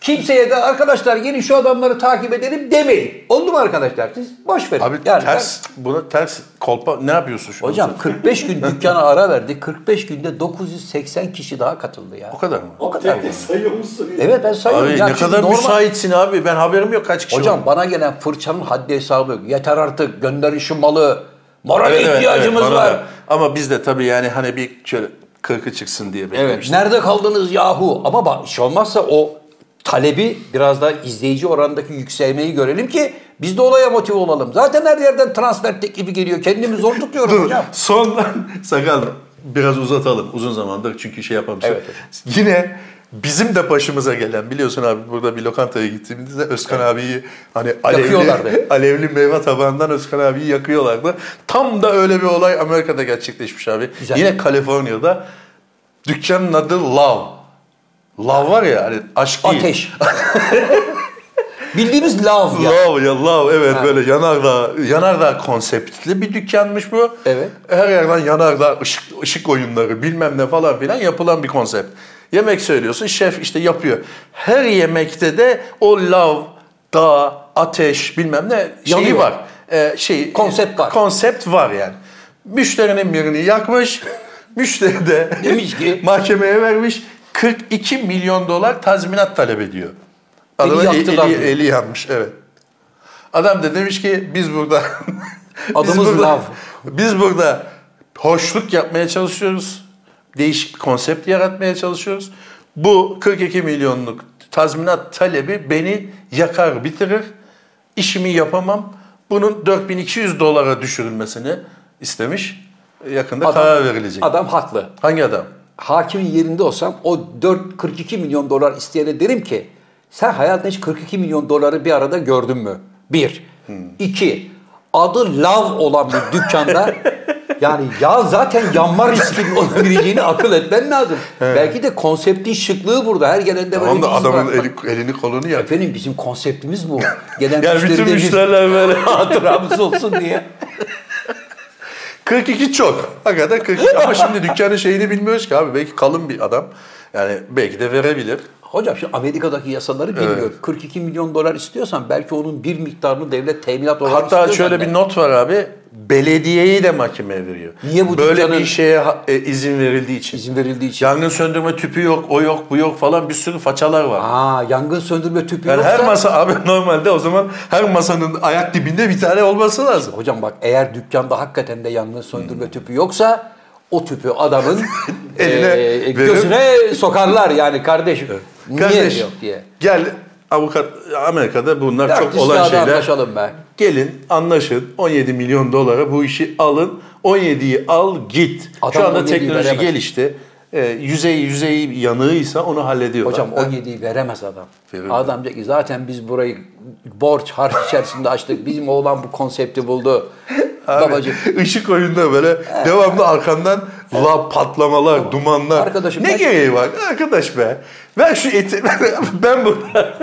S1: Kimseye de arkadaşlar gelin şu adamları takip edelim demeyin. Oldu mu arkadaşlar? Siz boş verin.
S2: Abi
S1: Yani
S2: ters, buna ters kolpa ne yapıyorsun şu
S1: ben-
S2: an
S1: hocam
S2: sen?
S1: 45 gün dükkana ara verdik. 45 günde 980 kişi daha katıldı ya.
S2: O kadar mı?
S1: O kadar.
S3: Tek tek sayıyor musun?
S1: Evet ben sayıyorum.
S2: Abi
S1: Ya
S2: ne
S1: çünkü
S2: kadar
S1: normal-
S2: müsaitsin abi. Ben haberim yok kaç kişi
S1: Hocam
S2: var.
S1: bana gelen fırçanın haddi hesabı yok. Yeter artık gönderin şu malı. Morale
S2: Evet, evet,
S1: ihtiyacımız
S2: evet, bana
S1: var.
S2: da. Ama biz de tabii yani hani bir şöyle kırkı çıksın diye
S1: Evet.
S2: beklemiştik.
S1: Nerede kaldınız yahu? Ama bak hiç olmazsa o talebi biraz daha izleyici oranındaki yükselmeyi görelim ki biz de olaya motive olalım. Zaten her yerden transfer teklifi geliyor. Kendimi zor tutuyorum hocam.
S2: Son sakal biraz uzatalım uzun zamandır çünkü şey yapamamıştık.
S1: Evet,
S2: Yine bizim de başımıza gelen biliyorsun abi burada bir lokantaya gittiğimizde Özkan abiyi hani
S1: Yakıyorlardı.
S2: alevli, alevli meyve tabağından Özkan abiyi yakıyorlardı. Tam da öyle bir olay Amerika'da gerçekleşmiş abi.
S1: Güzel.
S2: Yine Kaliforniya'da dükkanın adı Love. Love var ya hani aşk değil.
S1: Ateş. Bildiğimiz lav ya.
S2: Love ya love evet böyle yanardağ yanardağ konseptli bir dükkanmış bu.
S1: Evet.
S2: Her yerden yanardağ ışık ışık oyunları bilmem ne falan filan yapılan bir konsept. Yemek söylüyorsun şef işte yapıyor. Her yemekte de o love, dağ, ateş bilmem ne şeyi
S1: Yanıyor.
S2: var. Ee, şey
S1: Konsept var.
S2: Konsept var yani. Müşterinin birini yakmış. Müşteri de
S1: Demiş ki-
S2: mahkemeye vermiş. 42 milyon dolar tazminat talep ediyor.
S1: Beni
S2: Adamın
S1: yaktılar
S2: eli,
S1: diyor.
S2: eli yanmış evet. Adam da demiş ki biz burada biz
S1: Adımız
S2: burada-
S1: lav.
S2: Biz burada hoşluk yapmaya çalışıyoruz. Değişik bir konsept yaratmaya çalışıyoruz. Bu 42 milyonluk tazminat talebi beni yakar bitirir. İşimi yapamam. Bunun 4200 dolara düşürülmesini istemiş. Yakında karar verilecek.
S1: adam haklı.
S2: Hangi adam?
S1: Hakimin yerinde olsam o 4 42 milyon dolar isteyene derim ki sen hayatında hiç 42 milyon doları bir arada gördün mü? Bir.
S2: Hmm.
S1: İki. Adı lav olan bir dükkanda yani ya zaten yanma riskinin olabileceğini akıl etmen lazım. Belki de konseptin şıklığı burada. Her gelende
S2: Tamam
S1: böyle
S2: da
S1: bir iz
S2: adamın
S1: bırakmak.
S2: eli, elini kolunu yak.
S1: Efendim bizim konseptimiz bu. Gelen
S2: Yani bütün
S1: müşterilerin
S2: müşteriler böyle
S1: hatıramız olsun diye.
S2: 42 çok. Hakikaten 42. Ama şimdi dükkanın şeyini bilmiyoruz ki abi. Belki kalın bir adam. Yani belki de verebilir.
S1: Hocam şu Amerika'daki yasaları bilmiyorum. 42 milyon dolar istiyorsan belki onun bir miktarını devlet teminat olarak
S2: Hatta
S1: istiyorsan
S2: şöyle
S1: da-
S2: bir not var abi. Belediyeyi de mahkemeye veriyor.
S1: Niye bu
S2: Böyle
S1: dükkanın-
S2: bir şeye ha- e, izin verildiği için.
S1: izin verildiği için.
S2: Yangın söndürme tüpü yok, o yok, bu yok falan bir sürü façalar var.
S1: Aa yangın söndürme tüpü
S2: yani
S1: yoksa...
S2: her masa abi normalde o zaman her masanın ayak dibinde bir tane olması lazım.
S1: Hocam bak eğer dükkanda hakikaten de yangın söndürme tüpü yoksa o tüpü adamın
S2: Hmm.
S1: e,
S2: Eline
S1: eee,
S2: verip-
S1: gözüne sokarlar yani kardeşim. Niye
S2: Kardeş
S1: yok diye.
S2: gel avukat Amerika'da bunlar
S1: Çok
S2: çok olan şeyler.
S1: anlaşalım be.
S2: Gelin anlaşın 17 milyon dolara bu işi alın. 17'yi al git.
S1: Adam
S2: Şu anda
S1: 17'yi
S2: teknoloji
S1: veremez.
S2: gelişti. Ee, yüzeyi yüzeyi yanığıysa onu hallediyorlar.
S1: Hocam
S2: Ha?
S1: 17'yi veremez adam.
S2: Veremez.
S1: Adam diyecek ki zaten biz burayı borç harç içerisinde açtık. Bizim oğlan bu konsepti buldu.
S2: Abi,
S1: Babacığım
S2: ışık oyunda böyle devamlı arkandan la patlamalar, dumanlar.
S1: Arkadaşım
S2: ne
S1: ben-
S2: gereği var? Arkadaş be. Ver şu eti. ben burada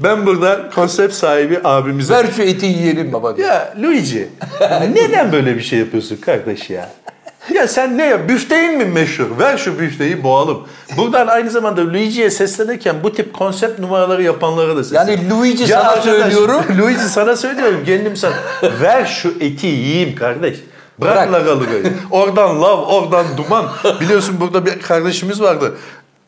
S2: ben burada konsept sahibi abimize.
S1: ver şu eti yiyelim baba diyor.
S2: Ya Luigi neden böyle bir şey yapıyorsun kardeş ya? Ya sen ne ya? Büfteğin mi meşhur? Ver şu büfteyi boğalım. Buradan aynı zamanda Luigi'ye seslenirken bu tip konsept numaraları yapanlara da seslen.
S1: Yani Luigi sana söylüyorum.
S2: Luigi sana söylüyorum. Kendim sana. Ver şu eti yiyeyim kardeş. Bırak,
S1: Bırak.
S2: lagalıgayı. Oradan lav, oradan duman. Biliyorsun burada bir kardeşimiz vardı.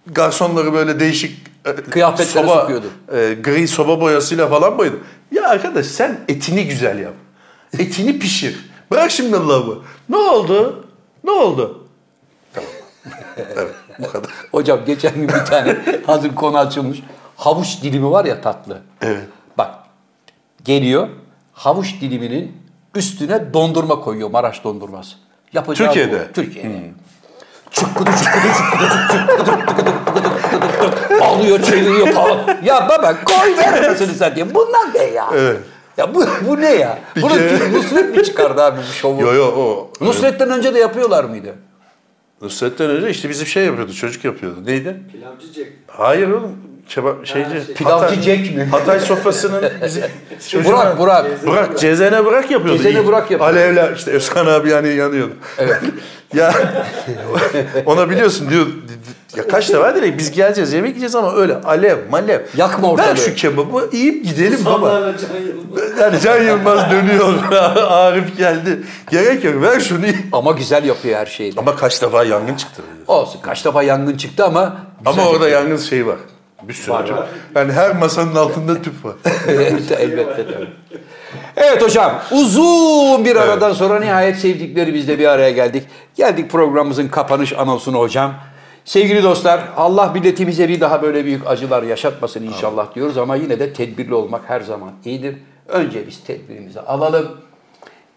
S2: Garsonları böyle değişik e,
S1: Kıyafetlere sokuyordu.
S2: e, gri soba boyasıyla falan boyadı. Ya arkadaş sen etini güzel yap. Etini pişir. Bırak şimdi lavı. Ne oldu? Ne oldu? Tamam. evet bu kadar.
S1: Hocam geçen gün bir tane hazır konu açılmış. Havuç dilimi var ya tatlı.
S2: Evet.
S1: Bak geliyor havuç diliminin üstüne dondurma koyuyor Maraş dondurması. Yapacağı
S2: Türkiye'de?
S1: Bu. Türkiye'de. Çukkudu çukkudu çukkudu çukkudu çukkudu çukkudu çukkudu çukkudu. Alıyor çeviriyor falan. Ya baba koy ver anasını satayım. Bunlar ne ya?
S2: Evet.
S1: Ya bu, bu ne ya? Bunu
S2: kere-
S1: Nusret mi çıkardı abi bu şovu?
S2: Yo yo o.
S1: Nusret'ten önce de yapıyorlar mıydı?
S2: Nusret'ten önce işte bizim şey yapıyordu. Çocuk yapıyordu. Neydi?
S3: Pilavcı Jack.
S2: Hayır oğlum. Kebap şeyci.
S3: şey.
S1: Pilavcı
S2: Hatay-
S1: Jack mi?
S2: Hatay sofrasının bizim çocuğuna-
S1: Burak, Burak.
S2: Burak Cezene Burak yapıyordu.
S1: Cezene Burak yapıyordu.
S2: Alevler işte Özkan abi yani yanıyordu. Evet. ya ona biliyorsun diyor ya kaç defa direkt biz geleceğiz yemek yiyeceğiz ama öyle alev malev.
S1: Yakma ortalığı.
S2: Ver şu kebabı yiyip gidelim baba.
S3: Sonlarla Can Yılmaz.
S2: Yani Can Yılmaz dönüyor. Arif geldi. Gerek yok ver şunu ye.
S1: Ama güzel yapıyor her şeyi. de.
S2: Ama kaç defa yangın çıktı.
S1: Olsun kaç defa yangın çıktı ama
S2: Ama orada yangın şeyi var. Bir sürü var. Yani her masanın altında tüp var.
S1: Evet, elbette tabii. Evet hocam uzun bir aradan sonra nihayet sevdikleri bizle bir araya geldik. Geldik programımızın kapanış anonsuna hocam. Sevgili dostlar Allah milletimize bir daha böyle büyük acılar yaşatmasın inşallah diyoruz ama yine de tedbirli olmak her zaman iyidir. Önce biz tedbirimizi alalım.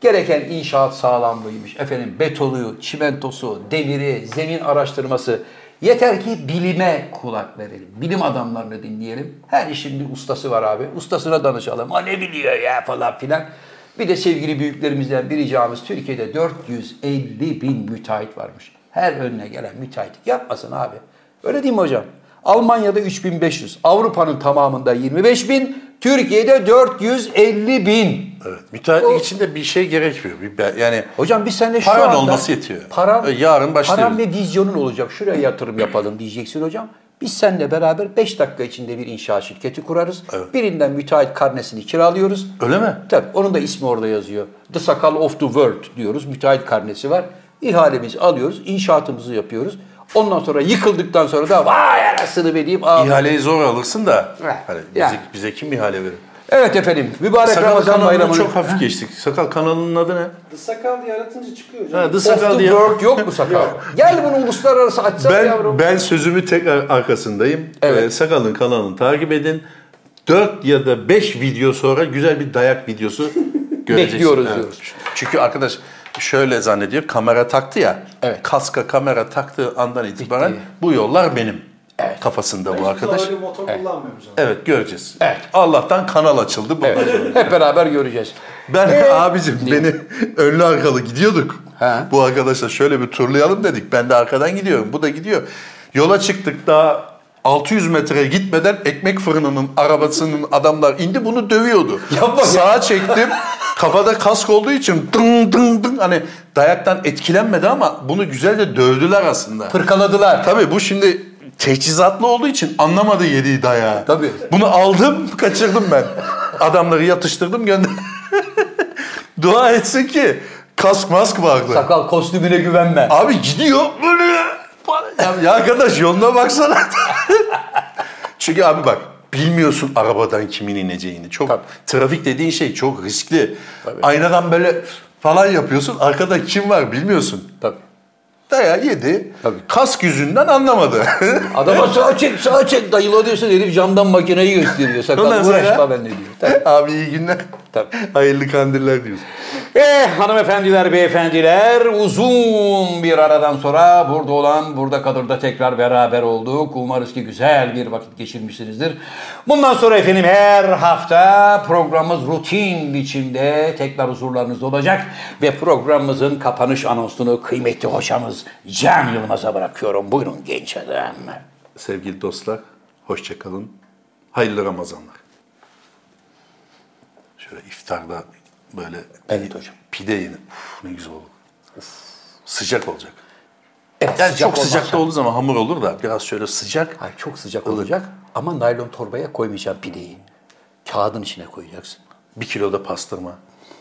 S1: Gereken inşaat sağlamlığıymış. Efendim betonu, çimentosu, demiri, zemin araştırması. Yeter ki bilime kulak verelim. Bilim adamlarını dinleyelim. Her işin bir ustası var abi. Ustasına danışalım. O ne biliyor ya falan filan. Bir de sevgili büyüklerimizden bir ricamız Türkiye'de 450 bin müteahhit varmış. Her önüne gelen müteahhitlik yapmasın abi. Öyle değil mi hocam? Almanya'da 3500, Avrupa'nın tamamında 25 bin, Türkiye'de 450 bin.
S2: Evet. Müteahhitlik için de bir şey gerekmiyor. Bir, be- yani
S1: Hocam biz seninle şu
S2: Paran
S1: anda...
S2: olması yetiyor.
S1: Paran,
S2: E, yarın başlıyoruz.
S1: Paran ve vizyonun olacak. Şuraya yatırım yapalım diyeceksin hocam. Biz seninle beraber 5 dakika içinde bir inşaat şirketi kurarız. Birinden müteahhit karnesini kiralıyoruz.
S2: Öyle mi?
S1: Tabii onun da ismi orada yazıyor. The Sakal of the World diyoruz. Müteahhit karnesi var. İhalemizi alıyoruz. inşaatımızı yapıyoruz. Ondan sonra yıkıldıktan sonra da vay anasını be deyip ağlayalım.
S2: ihaleyi zor alırsın da
S1: Evet.
S2: hani
S1: Yani.
S2: bize, bize kim ihale verir?
S1: Evet efendim. Mübarek
S2: Sakal
S1: Ramazan
S2: kanalını
S1: bayramını.
S2: çok hafif geçtik. Sakal kanalının adı ne?
S3: The Sakal diye aratınca çıkıyor hocam.
S2: Ha, The
S1: Of the
S2: Sakal diye.
S1: World yok mu sakal? Gel bunu uluslararası açsana yavrum.
S2: Ben, ben sözümü tekrar arkasındayım.
S1: Evet.
S2: Ee, Sakal'ın kanalını takip edin. 4 ya da 5 video sonra güzel bir dayak videosu göreceksiniz.
S1: Bekliyoruz diyoruz.
S2: Çünkü arkadaş şöyle zannediyor kamera taktı ya.
S1: Evet.
S2: Kaska kamera taktığı andan itibaren
S1: Bitti. bu
S2: bu yollar benim kafasında bu arkadaş.
S3: Hiçbir zaman öyle motor kullanmıyoruz ama.
S2: Evet göreceğiz.
S1: Evet.
S2: Allah'tan kanal açıldı bu.
S1: Evet. Hep beraber göreceğiz.
S2: Ben abicim beni önlü arkalı gidiyorduk.
S1: Ee, Ha.
S2: Bu arkadaşla şöyle bir turlayalım dedik. Ben de arkadan gidiyorum. Bu da gidiyor. Yola çıktık daha 600 metreye gitmeden ekmek fırınının arabasının adamlar indi bunu dövüyordu.
S1: Yapma ya.
S2: Sağa çektim. Kafada kask olduğu için dın dın dın hani dayaktan etkilenmedi ama bunu güzel de dövdüler aslında.
S1: Fırkaladılar.
S2: Tabii bu şimdi teçhizatlı olduğu için anlamadı yediği dayağı.
S1: Tabii.
S2: Bunu aldım, kaçırdım ben. Adamları yatıştırdım, gönder. Dua etsin ki kask mask vardı.
S1: Sakal kostümüne güvenme.
S2: Abi gidiyor böyle. Ya, ya arkadaş yoluna baksana. Çünkü abi bak bilmiyorsun arabadan kimin ineceğini. Çok
S1: Tabii.
S2: trafik dediğin şey çok riskli. Aynadan böyle falan yapıyorsun. Arkada kim var bilmiyorsun.
S1: Tabii.
S2: Daya yedi.
S1: Tabii.
S2: Kask yüzünden anlamadı.
S1: Adama sağ çek, sağ çek dayıla diyorsun herif camdan makineyi gösteriyor. Sakal
S2: Ondan sonra-
S1: uğraşma benimle diyor. Tabii.
S2: Abi iyi günler.
S1: Tabii.
S2: Hayırlı kandiller diyorsun.
S1: Eh hanımefendiler, beyefendiler uzun bir aradan sonra burada olan burada kadırda tekrar beraber olduk. Umarız ki güzel bir vakit geçirmişsinizdir. Bundan sonra efendim her hafta programımız rutin biçimde tekrar huzurlarınızda olacak. Ve programımızın kapanış anonsunu kıymetli hocamız Can Yılmaz'a bırakıyorum. Buyurun genç adam.
S2: Sevgili dostlar, hoşça kalın. Hayırlı Ramazanlar. Şöyle iftarda böyle
S1: Evet hocam.
S2: pide yedin. Uf, ne güzel oldu. Sıcak olacak.
S1: Evet,
S2: Yani
S1: sıcak
S2: çok sıcak
S1: olmazsa-
S2: da olduğu zaman hamur olur da biraz şöyle sıcak.
S1: Ay çok sıcak olacak ama naylon torbaya koymayacaksın pideyi. Kağıdın içine koyacaksın.
S2: Bir kilo da pastırma.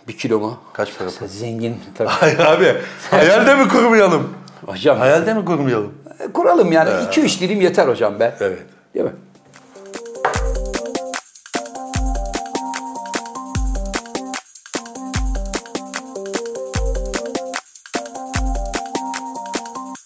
S1: Bir kilo mu?
S2: Kaç para?
S1: Sen Zengin tabii.
S2: Hayır abi. Hayalde mi kurmayalım?
S1: Hocam
S2: Hayalde mi kurmayalım?
S1: kuralım yani. 2-3 dilim yeter hocam be.
S2: Ee. Evet.
S1: Değil mi?